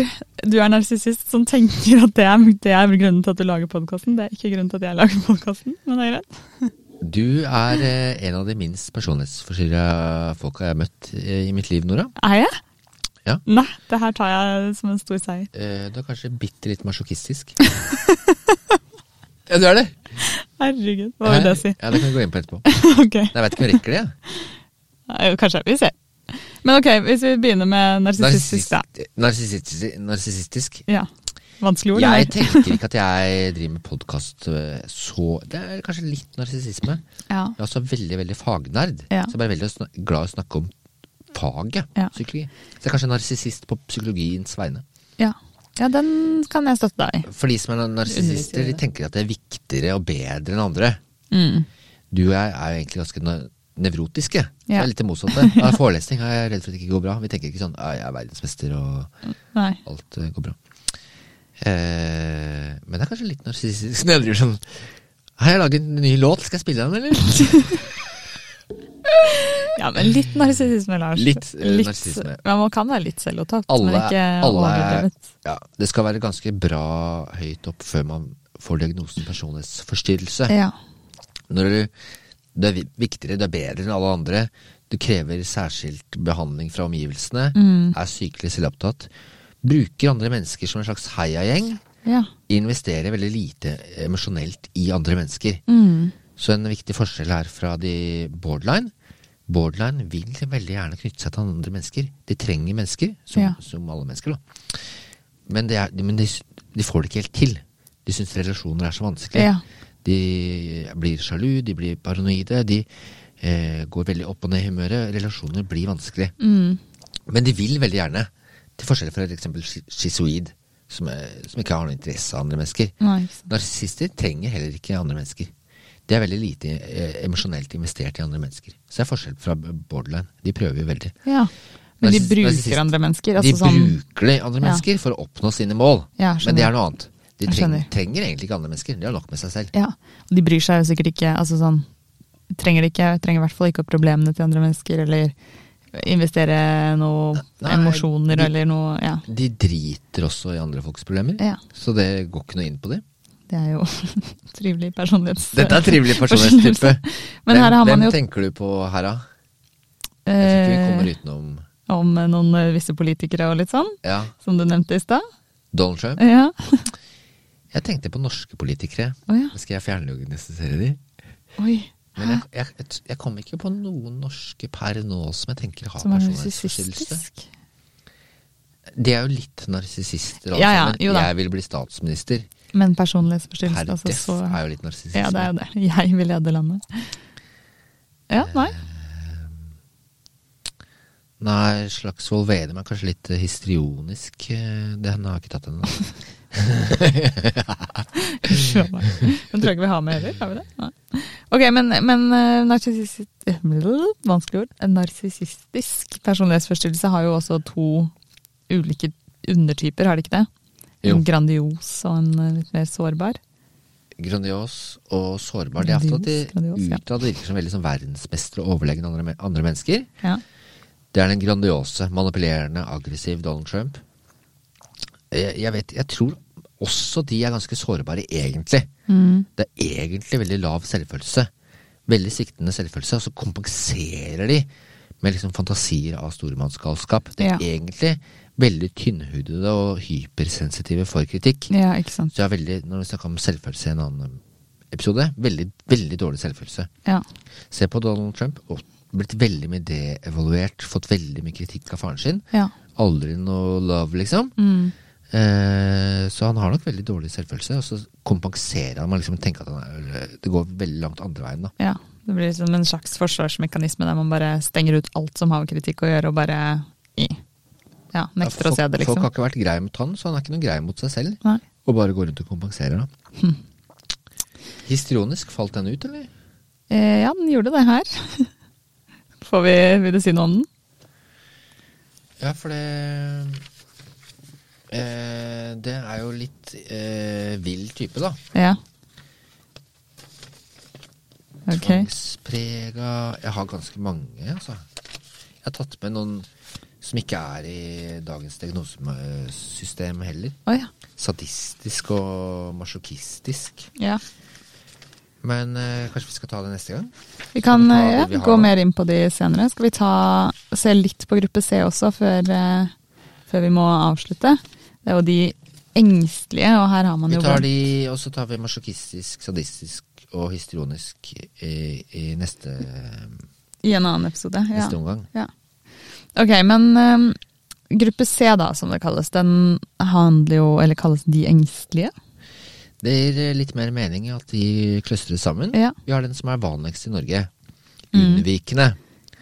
du er narsissist som tenker at det er, det er grunnen til at du lager podkasten. Det er ikke grunnen til at jeg lager podkasten, men det er greit.
Du er eh, en av de minst personlighetsforstyrra folka jeg har møtt eh, i mitt liv, Nora.
Er jeg?
Ja.
Nei, det her tar jeg som en stor seier.
Eh, du er kanskje bitte litt
<laughs>
masjokistisk. ja, du er det.
Herregud, hva vil det si?
Ja, det kan vi gå inn på etterpå.
<laughs> Ok,
Jeg veit ikke om jeg rekker
<laughs>
det. jeg.
Nei, kanskje. Vi ser. Men ok, hvis vi begynner med narsissistisk, da.
Narsissis- narsissis- Narsissistisk.
Ja. Vanskelig ord.
Jeg
det der.
tenker ikke at jeg driver med podkast så Det er kanskje litt narsissisme.
<laughs> Ja.
Jeg er også veldig veldig fagnerd.
Ja.
Så jeg er bare veldig å snak- glad i å snakke om faget
Ja.
psykologi. Så jeg er kanskje en narsissist på psykologiens vegne.
Ja. ja, den kan jeg støtte deg i.
For de som er narsissister, de
Underlig,
tenker at det er viktigere og bedre enn andre.
Mm.
Du og jeg er jo egentlig ganske na- nevrotiske. Så
Ja.
jeg er litt det motsatte. Av forelesning er jeg redd for at det ikke går bra. Vi tenker ikke sånn «Ja, 'jeg er verdensmester' og
Nei.
Alt eh, går bra. Eh, men det er kanskje litt narsissistisk når jeg driver sånn Hei, jeg lager en ny låt. Skal jeg spille den, eller?
Ja, men litt narsissisme, Lars.
Litt, eh, narsissisme.
Ja, man kan være litt selvopptatt,
Alle-
men ikke
alle er- <laughs>
overdrevet.
Ja, det skal være ganske bra høyt opp før man får diagnosen personlighetsforstyrrelse.
Ja.
Når du, du er vi- viktigere, du er bedre enn alle andre, du krever særskilt behandling fra omgivelsene, er sykelig selvopptatt, bruker andre mennesker som en slags heiagjeng,
ja.
investerer veldig lite emosjonelt i andre mennesker.
Mm.
Så en viktig forskjell her fra de borderline Borderline vil veldig gjerne knytte seg til andre mennesker. De trenger mennesker, som,
Ja.
som alle mennesker, da. Men, det er, men de, s- de får det ikke helt til. De syns relasjoner er så vanskelig.
Ja.
De blir sjalu, de blir paranoide, de eh, går veldig opp og ned i humøret. Relasjoner blir vanskelig.
Mm.
Men de vil veldig gjerne. Til forskjell fra f.eks. schizoid, som, er, som ikke har noen interesse av andre mennesker.
Nei, ikke sant.
Narsissister trenger heller ikke andre mennesker. De er veldig lite eh, emosjonelt investert i andre mennesker. Så det er forskjell fra borderline. De prøver jo veldig.
Ja. Men de
Narsissist- narsissist-
bruker andre mennesker.
De
Altså sånn,
bruker de andre mennesker for å oppnå sine mål,
Ja, skjønner.
men det er noe annet. De
Jeg
treng,
skjønner.
trenger egentlig ikke andre mennesker. De har nok med seg selv.
ja. Og de bryr seg jo sikkert ikke. Altså sånn, trenger, det ikke trenger i hvert fall ikke opp problemene til andre mennesker, eller investere noe
Nei,
emosjoner
de-
eller noe Ja.
De driter også i andre folks problemer,
Ja.
så det går ikke noe inn på dem.
Det er jo <laughs> trivelig personlighets...
Dette er
<laughs>
trivelig personlighetstype.
Men her har man
hvem
jo
tenker du på her, da? Jeg tror ikke vi kommer
eh,
utenom
om eh, noen eh, visse politikere og litt sånn,
ja,
som du nevnte i stad.
Donald Trump. <laughs>
Ja.
Jeg tenkte på norske politikere.
Å ja.
Skal jeg fjerndiagnostisere de?
Oi.
Men jeg, jeg, jeg, jeg kom ikke på noen norske per nå som jeg tenker har
Som er
personlighetsforstyrrelse.
narsissistisk.
De er jo litt narsissister. alle
Ja, ja,
sammen.
jo da.
jeg vil bli statsminister.
Men
Herr
personlighetsforstyrrelse, altså
Deff
så
er jo litt narsissist.
Ja, det er jo det. <laughs> Jeg vil lede landet. Ja,
Eh,
nei.
Nei, Slagsvold Vedum er kanskje litt eh, histrionisk. eh, Det han har jeg ikke tatt ennå.
Skjønner. Den tror jeg ikke vi har med heller, har vi det? Nei. Ok, men, men eh, narsissist... <laughs> Vanskelig ord. En Narsissistisk personlighetsforstyrrelse har jo også to ulike undertyper, har det ikke det?
Jo.
En grandios og en eh, litt mer sårbar.
<laughs> Grandios og sårbar. Det er ofte at de
Grandios, ja.
utad virker som veldig som verdensmestere og overlegne andre, men- andre mennesker.
Ja.
Det er den grandiose, manipulerende, aggressiv Donald Trump. Jeg, jeg vet, jeg tror også de er ganske sårbare, egentlig.
Mm.
Det er egentlig veldig lav selvfølelse. Veldig sviktende selvfølelse. Og så kompenserer de med liksom fantasier av stormannsgalskap. Det er
Ja.
egentlig veldig tynnhudede og hypersensitive for kritikk.
ja, ikke sant.
Så jeg er veldig, når vi snakker om selvfølelse i en annen episode, veldig, veldig dårlig selvfølelse.
Ja.
Se på Donald Trump. og Blitt veldig mye devaluert. Fått veldig mye kritikk av faren sin.
ja.
Aldri noe love, liksom.
Mm.
Eh, så han har nok veldig dårlig selvfølelse. Og så kompenserer han med å liksom tenke at han er, det går veldig langt andre veien. da.
Ja, det blir som en slags forsvarsmekanisme der man bare stenger ut alt som har med kritikk å gjøre, og bare i. Ja, nekter
Ja,
å se det, liksom.
Folk har ikke vært greie mot han, så han er ikke noe grei mot seg selv.
Nei.
Og bare går rundt og kompenserer, da.
Hm.
Histrionisk, falt den ut, eller?
Eh, ja, den gjorde det her. <laughs> Får vi, vil du si noe om den?
Ja, for det eh, Det er jo litt eh, vill type, da.
Ja. Ok.
Tvangsprega Jeg har ganske mange, altså. Jeg har tatt med noen som ikke er i dagens diagnosesystem heller.
Å ja.
Sadistisk og masjokistisk.
ja.
Men eh, kanskje vi skal ta det neste gang?
Vi kan
Skal vi ta
eh, ja,
det vi har
gå
nå?
mer inn på de senere. Skal vi ta, se litt på gruppe C også, før, eh, før vi må avslutte? Det er jo de engstelige, og her har man
Vi
jo
tar de, Og så tar vi masjokistisk, sadistisk og histrionisk i, i neste, eh,
i en annen episode. Ja.
neste omgang.
Ja. Ok, men ehm, gruppe C da, som det kalles, den handler jo, eller kalles de engstelige.
Det gir eh, litt mer mening at de kløstres sammen.
Ja.
Vi har den som er vanligst i Norge. Unnvikende.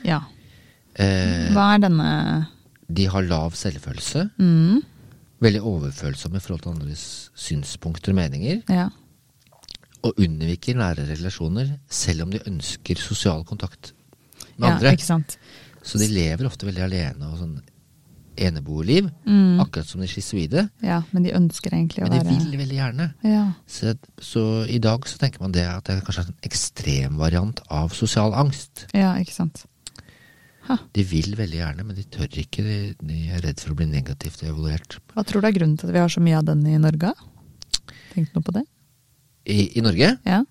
Ja.
Eh,
Hva er denne?
de har lav selvfølelse.
Mm,
Veldig overfølsomme i forhold til andres synspunkter og meninger.
ja.
Og unnviker nære relasjoner selv om de ønsker sosial kontakt med
ja,
andre.
ikke sant?
Så de lever ofte veldig alene og sånn eneboerliv,
Mm.
akkurat som de schizoide.
Ja, men de ønsker egentlig å
Men de
være
vil veldig gjerne.
Ja.
Så, så i dag så tenker man det at det er kanskje en ekstremvariant av sosial angst.
ja, ikke sant.
De vil veldig gjerne, men de tør ikke. De, de er redd for å bli negativt evaluert.
Hva tror du er grunnen til at vi har så mye av den i Norge? Tenk noe på det.
I, I Norge?
Ja.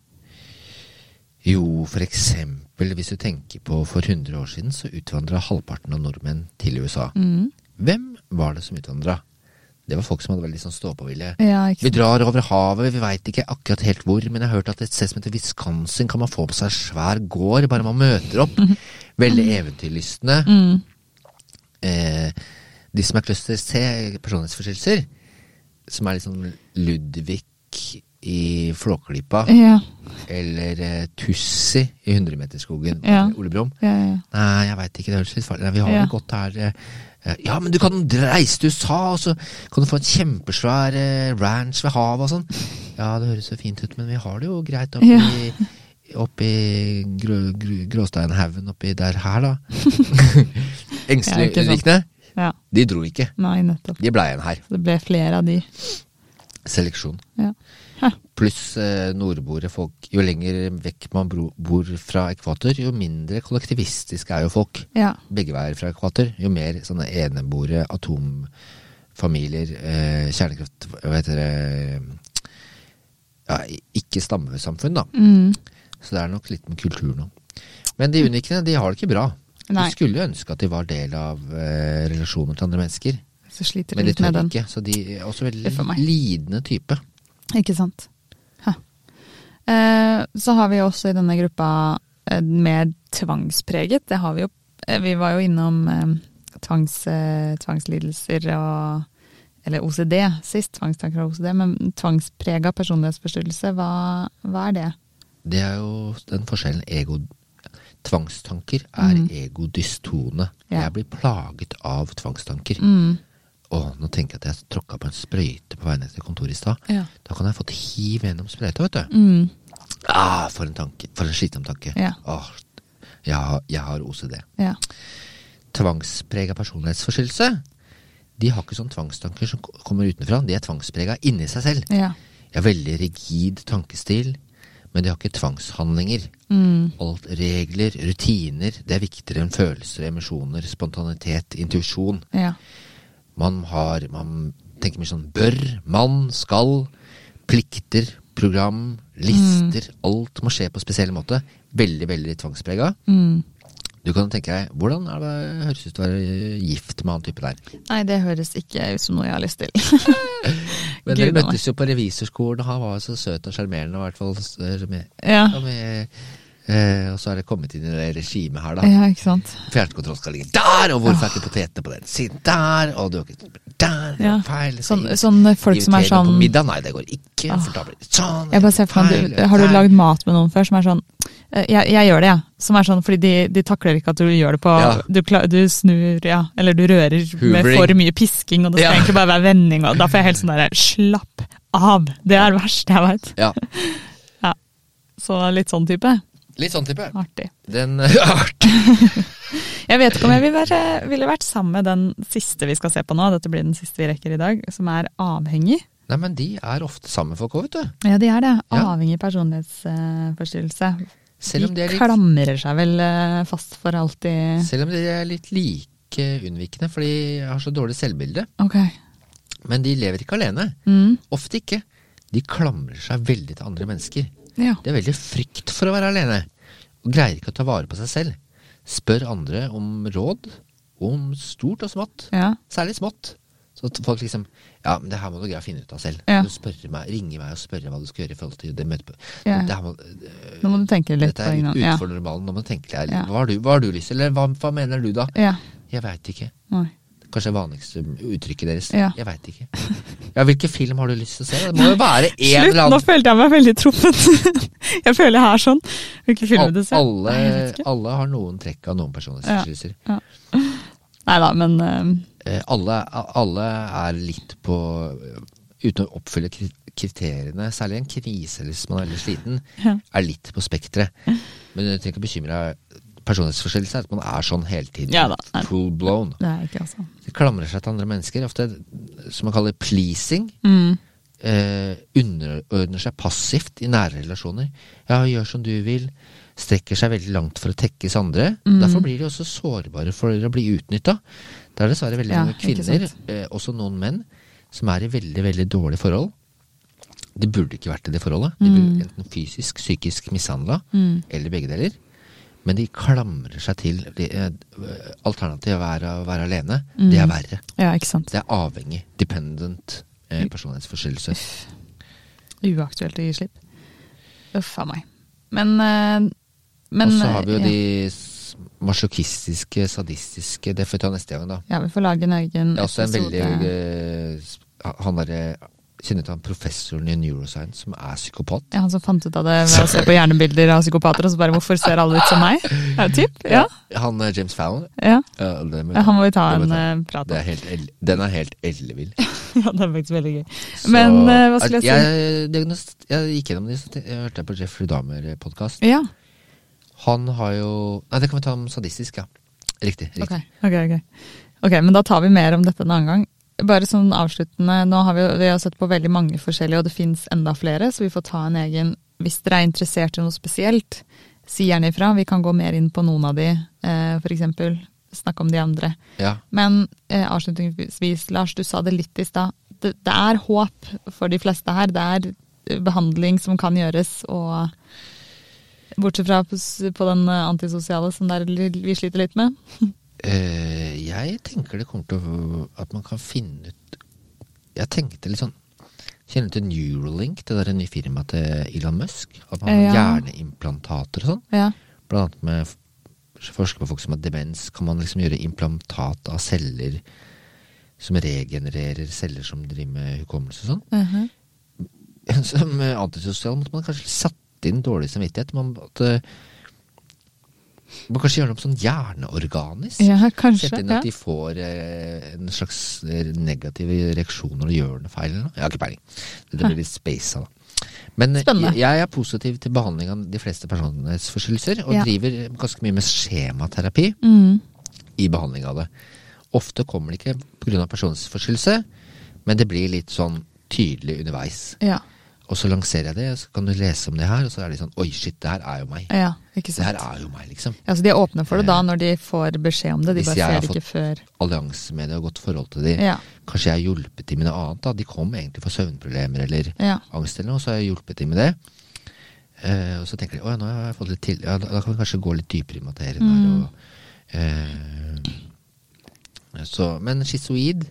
Jo, for eksempel hvis du tenker på for 100 år siden, så utvandra halvparten av nordmenn til USA.
Mm.
Hvem var det som utvandra? Det var folk som hadde veldig sånn stå-på-vilje.
ja ikke
Vi
sant.
drar over havet, vi veit ikke akkurat helt hvor, men jeg har hørt at et sted som heter Wisconsin kan man få på seg svær gård, bare man møter
<laughs>
opp. Veldig eventyrlystne.
Mm.
eh, de som er cluster C, personlighetsforstyrrelser, som er liksom Ludvig i Flåklypa,
Ja.
eller eh, Tussi i 100-meterskogen,
Ja.
Ole Brumm.
Ja, ja, ja.
Nei, jeg veit ikke, det høres litt farlig ut. Vi har
Ja.
det godt her. eh, eh, Ja, men du kan reise til USA, og så kan du få en kjempesvær eh, ranch ved havet og sånn. Ja, det høres så fint ut, men vi har det jo greit oppi, oppi grå, grå, Gråsteinhaugen oppi der
<laughs>
her, da. <laughs>
Ja, ikke sant.
Engsteligvikene,
ja.
de dro ikke.
Nei, nettopp.
De blei igjen her.
Så det ble flere av de.
Seleksjon.
Ja.
Pluss eh, nordboere folk. Jo lenger vekk man bro, bor fra ekvator, jo mindre kollektivistiske er jo folk.
ja.
begge veier fra ekvator, jo mer sånne eneboere, atomfamilier, eh, kjernekraft Hva heter det ja, Ikke-stammesamfunn, da.
Mm.
Så det er nok litt med kulturen òg. Men de unikene, de har det ikke bra.
Nei,
De skulle jo ønske at de var del av eh, relasjoner til andre mennesker,
så sliter
men
de
de
litt med
tør
den.
ikke. Så de er også
Det er for meg.
veldig lidende type.
Ikke sant. Hæ. Eh, så har vi jo også i denne gruppa eh, mer tvangspreget. Det har vi jo. Eh, vi var jo innom eh, tvangs, eh, tvangslidelser og eller OCD sist, tvangstanker og OCD, men tvangsprega personlighetsforstyrrelse, hva, hva er det?
Det er jo den forskjellen ego Tvangstanker er
Mhm.
egodystone.
Ja.
Jeg blir plaget av tvangstanker.
Mm.
Å, nå tenker jeg at jeg tråkka på en sprøyte på vei ned til kontoret i stad.
Ja.
Da kan jeg ha fått hiv gjennom sprøyta, vet du.
Mm.
Ah, for en tanke. For en slitsom tanke.
Ja.
Åh, jeg, har, jeg har OCD.
ja.
Tvangsprega personlighetsforstyrrelse. De har ikke sånne tvangstanker som ko- kommer utenfra. De er tvangsprega inni seg selv.
Ja.
De har veldig rigid tankestil, men de har ikke tvangshandlinger.
Mm.
Alt regler, rutiner, det er viktigere enn følelser, emosjoner, spontanitet, intuisjon.
Ja.
Man har Man tenker mye sånn bør, man, skal, plikter, program, lister. Alt må skje på spesiell måte. Veldig, veldig tvangsprega.
Mm.
Du kan tenke deg hvordan er det høres ut å være eh, gift med han type der.
Nei, det høres ikke ut som noe jeg har lyst til. <laughs>
Men
Gud,
dere
Anna.
møttes jo på revisorskolen, og han var jo så søt og sjarmerende, og i hvert fall eh, så- med,
ja.
og med eh, og så er det kommet inn i det regimet her, da.
ja, ikke sant.
Fjernkontroll skal ligge der, og hvorfor er ikke potetene på den siden der? Og du har ikke der, det
Ja.
er feil. så
Sånn, sånn folk som er
Inviterer noen
sånn
på middag? Nei, det går ikke.
Åh.
For da blir det sånn.
Jeg bare ser for meg, du, Har du lagd mat med noen før som er sånn eh, jeg, jeg gjør det, jeg. Som er sånn fordi de, de takler ikke at du gjør det på
Ja.
du, kla- du snur, ja. Eller du rører med
Hoovering.
for mye pisking, og det skal
Ja.
egentlig bare være vending. Og da får jeg helt sånn derre Slapp av! Det er det verste jeg veit.
Ja,
Så litt sånn type.
Litt sånn type.
Artig.
Den <laughs> artig.
Jeg vet ikke om jeg vil være, ville vært sammen med den siste vi skal se på nå. Dette blir den siste vi rekker i dag, som er avhengig.
Nei, men de er ofte sammen folk òg, vet du.
Ja, de er det.
Ja.
Avhengig personlighetsforstyrrelse.
Selv om de
de
er litt,
klamrer seg vel eh, fast for alltid.
selv om de er litt like unnvikende, for de har så dårlig selvbilde.
Ok.
Men de lever ikke alene.
Mm.
Ofte ikke. De klamrer seg veldig til andre mennesker.
Ja.
De har veldig frykt for å være alene, og greier ikke å ta vare på seg selv. Spør andre om råd, om stort og smått.
Ja.
Særlig smått. Så at folk liksom Ja, men det her må du greie å finne ut av selv.
Ja.
Du spørre meg, Ringe meg og spørre hva du skal gjøre i forhold til det møtet. på-
Ja.
Det her må,
Nå må du tenke litt
dette
på
er
egen
litt
hånd. Ja.
utenfor normalen. Nå må du tenke deg litt.
Ja.
Hva har du, hva har du lyst til? Eller hva, hva mener du da?
Ja.
Jeg veit ikke.
Nei.
Kanskje det vanligste uttrykket deres.
Ja.
Jeg veit ikke. Ja, hvilken film har du lyst til å se? Det må jo
<laughs>
være en
Slutt,
eller
nå
annen
følte jeg meg veldig truffet. <laughs> jeg føler jeg er sånn. Hvilke filmer du ser.
alle,
Nei, jeg vet ikke.
alle har noen trekk av noen personlighetsforstyrrelser.
Neida, men eh,
Eh, alle, alle er litt på eh, Uten å oppfylle kri- kriteriene, særlig i en krise eller hvis man er litt sliten,
Ja.
er litt på spekteret. Men du trenger ikke å bekymre deg personlighetsforstyrrelse er at man er sånn hele tiden.
Ja da, nei.
Full blown.
Det er ikke altså.
De klamrer seg til andre mennesker. Ofte som man kaller pleasing.
Mm.
Eh, underordner seg passivt i nære relasjoner. Ja, gjør som du vil. Strekker seg veldig langt for å tekkes andre.
Mm.
Derfor blir de også sårbare for å bli utnytta. Det er dessverre veldig
Ja,
mange
ikke
kvinner,
sant.
eh, også noen menn, som er i veldig, veldig dårlige forhold. De burde ikke vært i det forholdet. De blir
Mm.
enten fysisk, psykisk mishandla, eller begge deler. Men de klamrer seg til eh, Alternativet å være, å være alene, det
Mm.
er verre.
Ja, ikke sant.
Det er avhengig. Dependent eh, personlighetsforstyrrelse.
Uaktuelt å gi slipp. Uff a meg. Men, eh, men eh,
Og så har vi jo
ja.
de s- masochistiske, sadistiske Det får vi ta neste gang, da.
Ja, vi får lage en egen
Det er også en veldig
episode.
eh, s- Han derre Kjenner du til han professoren i neuroscience som er psykopat?
ja, Han som fant ut av det ved å se på hjernebilder av psykopater, og så bare 'hvorfor ser alle ut som meg'? Ja, typ. Ja.
Han eh, James Fallon?
ja.
Ja, det må vi
ja han må vi ta
Det må
en
vi
eh, prat
Det
om.
er helt el den er helt ellevill.
Ja, det er faktisk veldig gøy. <laughs>
Så-
Men eh, hva skulle jeg si?
Jeg, diagnost- jeg gikk gjennom de, så te- jeg hørte på Jeffrey Dahmer-podkast.
Ja,
Han har jo Nei, det kan vi ta om sadistisk, ja. Riktig. riktig.
ok. ok, ok. Ok, men da tar vi mer om dette en annen gang. Bare sånn avsluttende, nå har vi, jo- vi har sett på veldig mange forskjellige, og det fins enda flere, så vi får ta en egen Hvis dere er interessert i noe spesielt, si gjerne ifra. Vi kan gå mer inn på noen av de, eh, for eksempel. Snakke om de andre.
Ja.
Men eh, avslutningsvis, Lars, du sa det litt i stad. Det, det er håp for de fleste her. Det er eh, behandling som kan gjøres, og bortsett fra på, s- på den eh, antisosiale som der li- vi sliter litt med.
Eh, jeg tenker det kommer til å At man kan finne ut Jeg tenkte litt sånn Kjenner du til Neuralink, det der nye firmaet til Elon Musk? At man har
Ja.
hjerneimplantater og sånn.
Ja.
Blant annet med f- forskere på folk som har demens, kan man liksom gjøre implantat av celler som regenererer celler som driver med hukommelse og sånn.
Mhm.
<laughs> Som eh, antisosial måtte man kanskje satt inn dårlig samvittighet. Man måtte man kanskje gjøre noe sånn hjerneorganisk.
ja,
Sett
kanskje.
inn
Ja.
at de får eh, en slags eh, negativ reaksjon når de gjør noe feil. Eller noe. Jeg har ikke peiling. Det blir litt space av da. Men eh,
Spennende.
jeg- jeg er positiv til behandling av de fleste personlighetsforstyrrelser, og
Ja.
driver ganske mye med skjematerapi
Mm.
i behandling av det. Ofte kommer det ikke pga. personlighetsforstyrrelse, men det blir litt sånn tydelig underveis.
ja.
Og så lanserer jeg det, og så kan du lese om det her, og så er det sånn Oi, shit, det her er jo meg.
Ja, ikke
Det her
sant.
er jo meg, liksom.
Ja, så de er åpne for det da, når de får beskjed om det. De
Hvis
bare
jeg har
ser ikke før.
Alliansemedier og godt forhold til de.
Ja,
Kanskje jeg har hjulpet dem med noe annet. da. De kom egentlig for søvnproblemer eller
ja.
angst eller noe, så har jeg hjulpet dem med det. Eh, og så tenker de å ja, nå har jeg fått litt til. Ja, da, da kan vi kanskje gå litt dypere i materien
Mm.
her. Og, eh, så, men schizoid,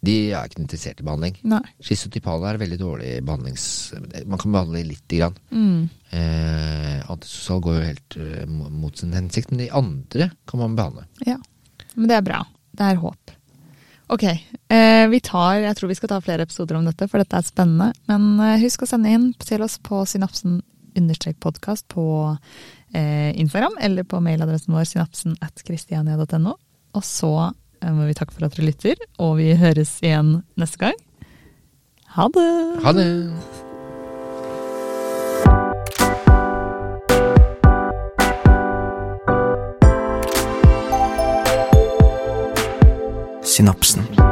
de er ikke interessert i behandling.
Nei.
Schizotypale er veldig dårlig behandlings... Man kan behandle lite grann.
Mm.
Eh, antisosial går jo helt eh, mo- mot sin hensikt, men de andre kan man behandle.
Ja, men det er bra. Det er håp. Ok, eh, vi tar, jeg tror vi skal ta flere episoder om dette, for dette er spennende. Men eh, husk å sende inn til oss på synapsen-podkast på eh, Instagram, eller på mailadressen vår synapsen at kristiania.no. Og så eh, må vi takke for at dere lytter, og vi høres igjen neste gang. Ha det!
Ha det!
Synapsen.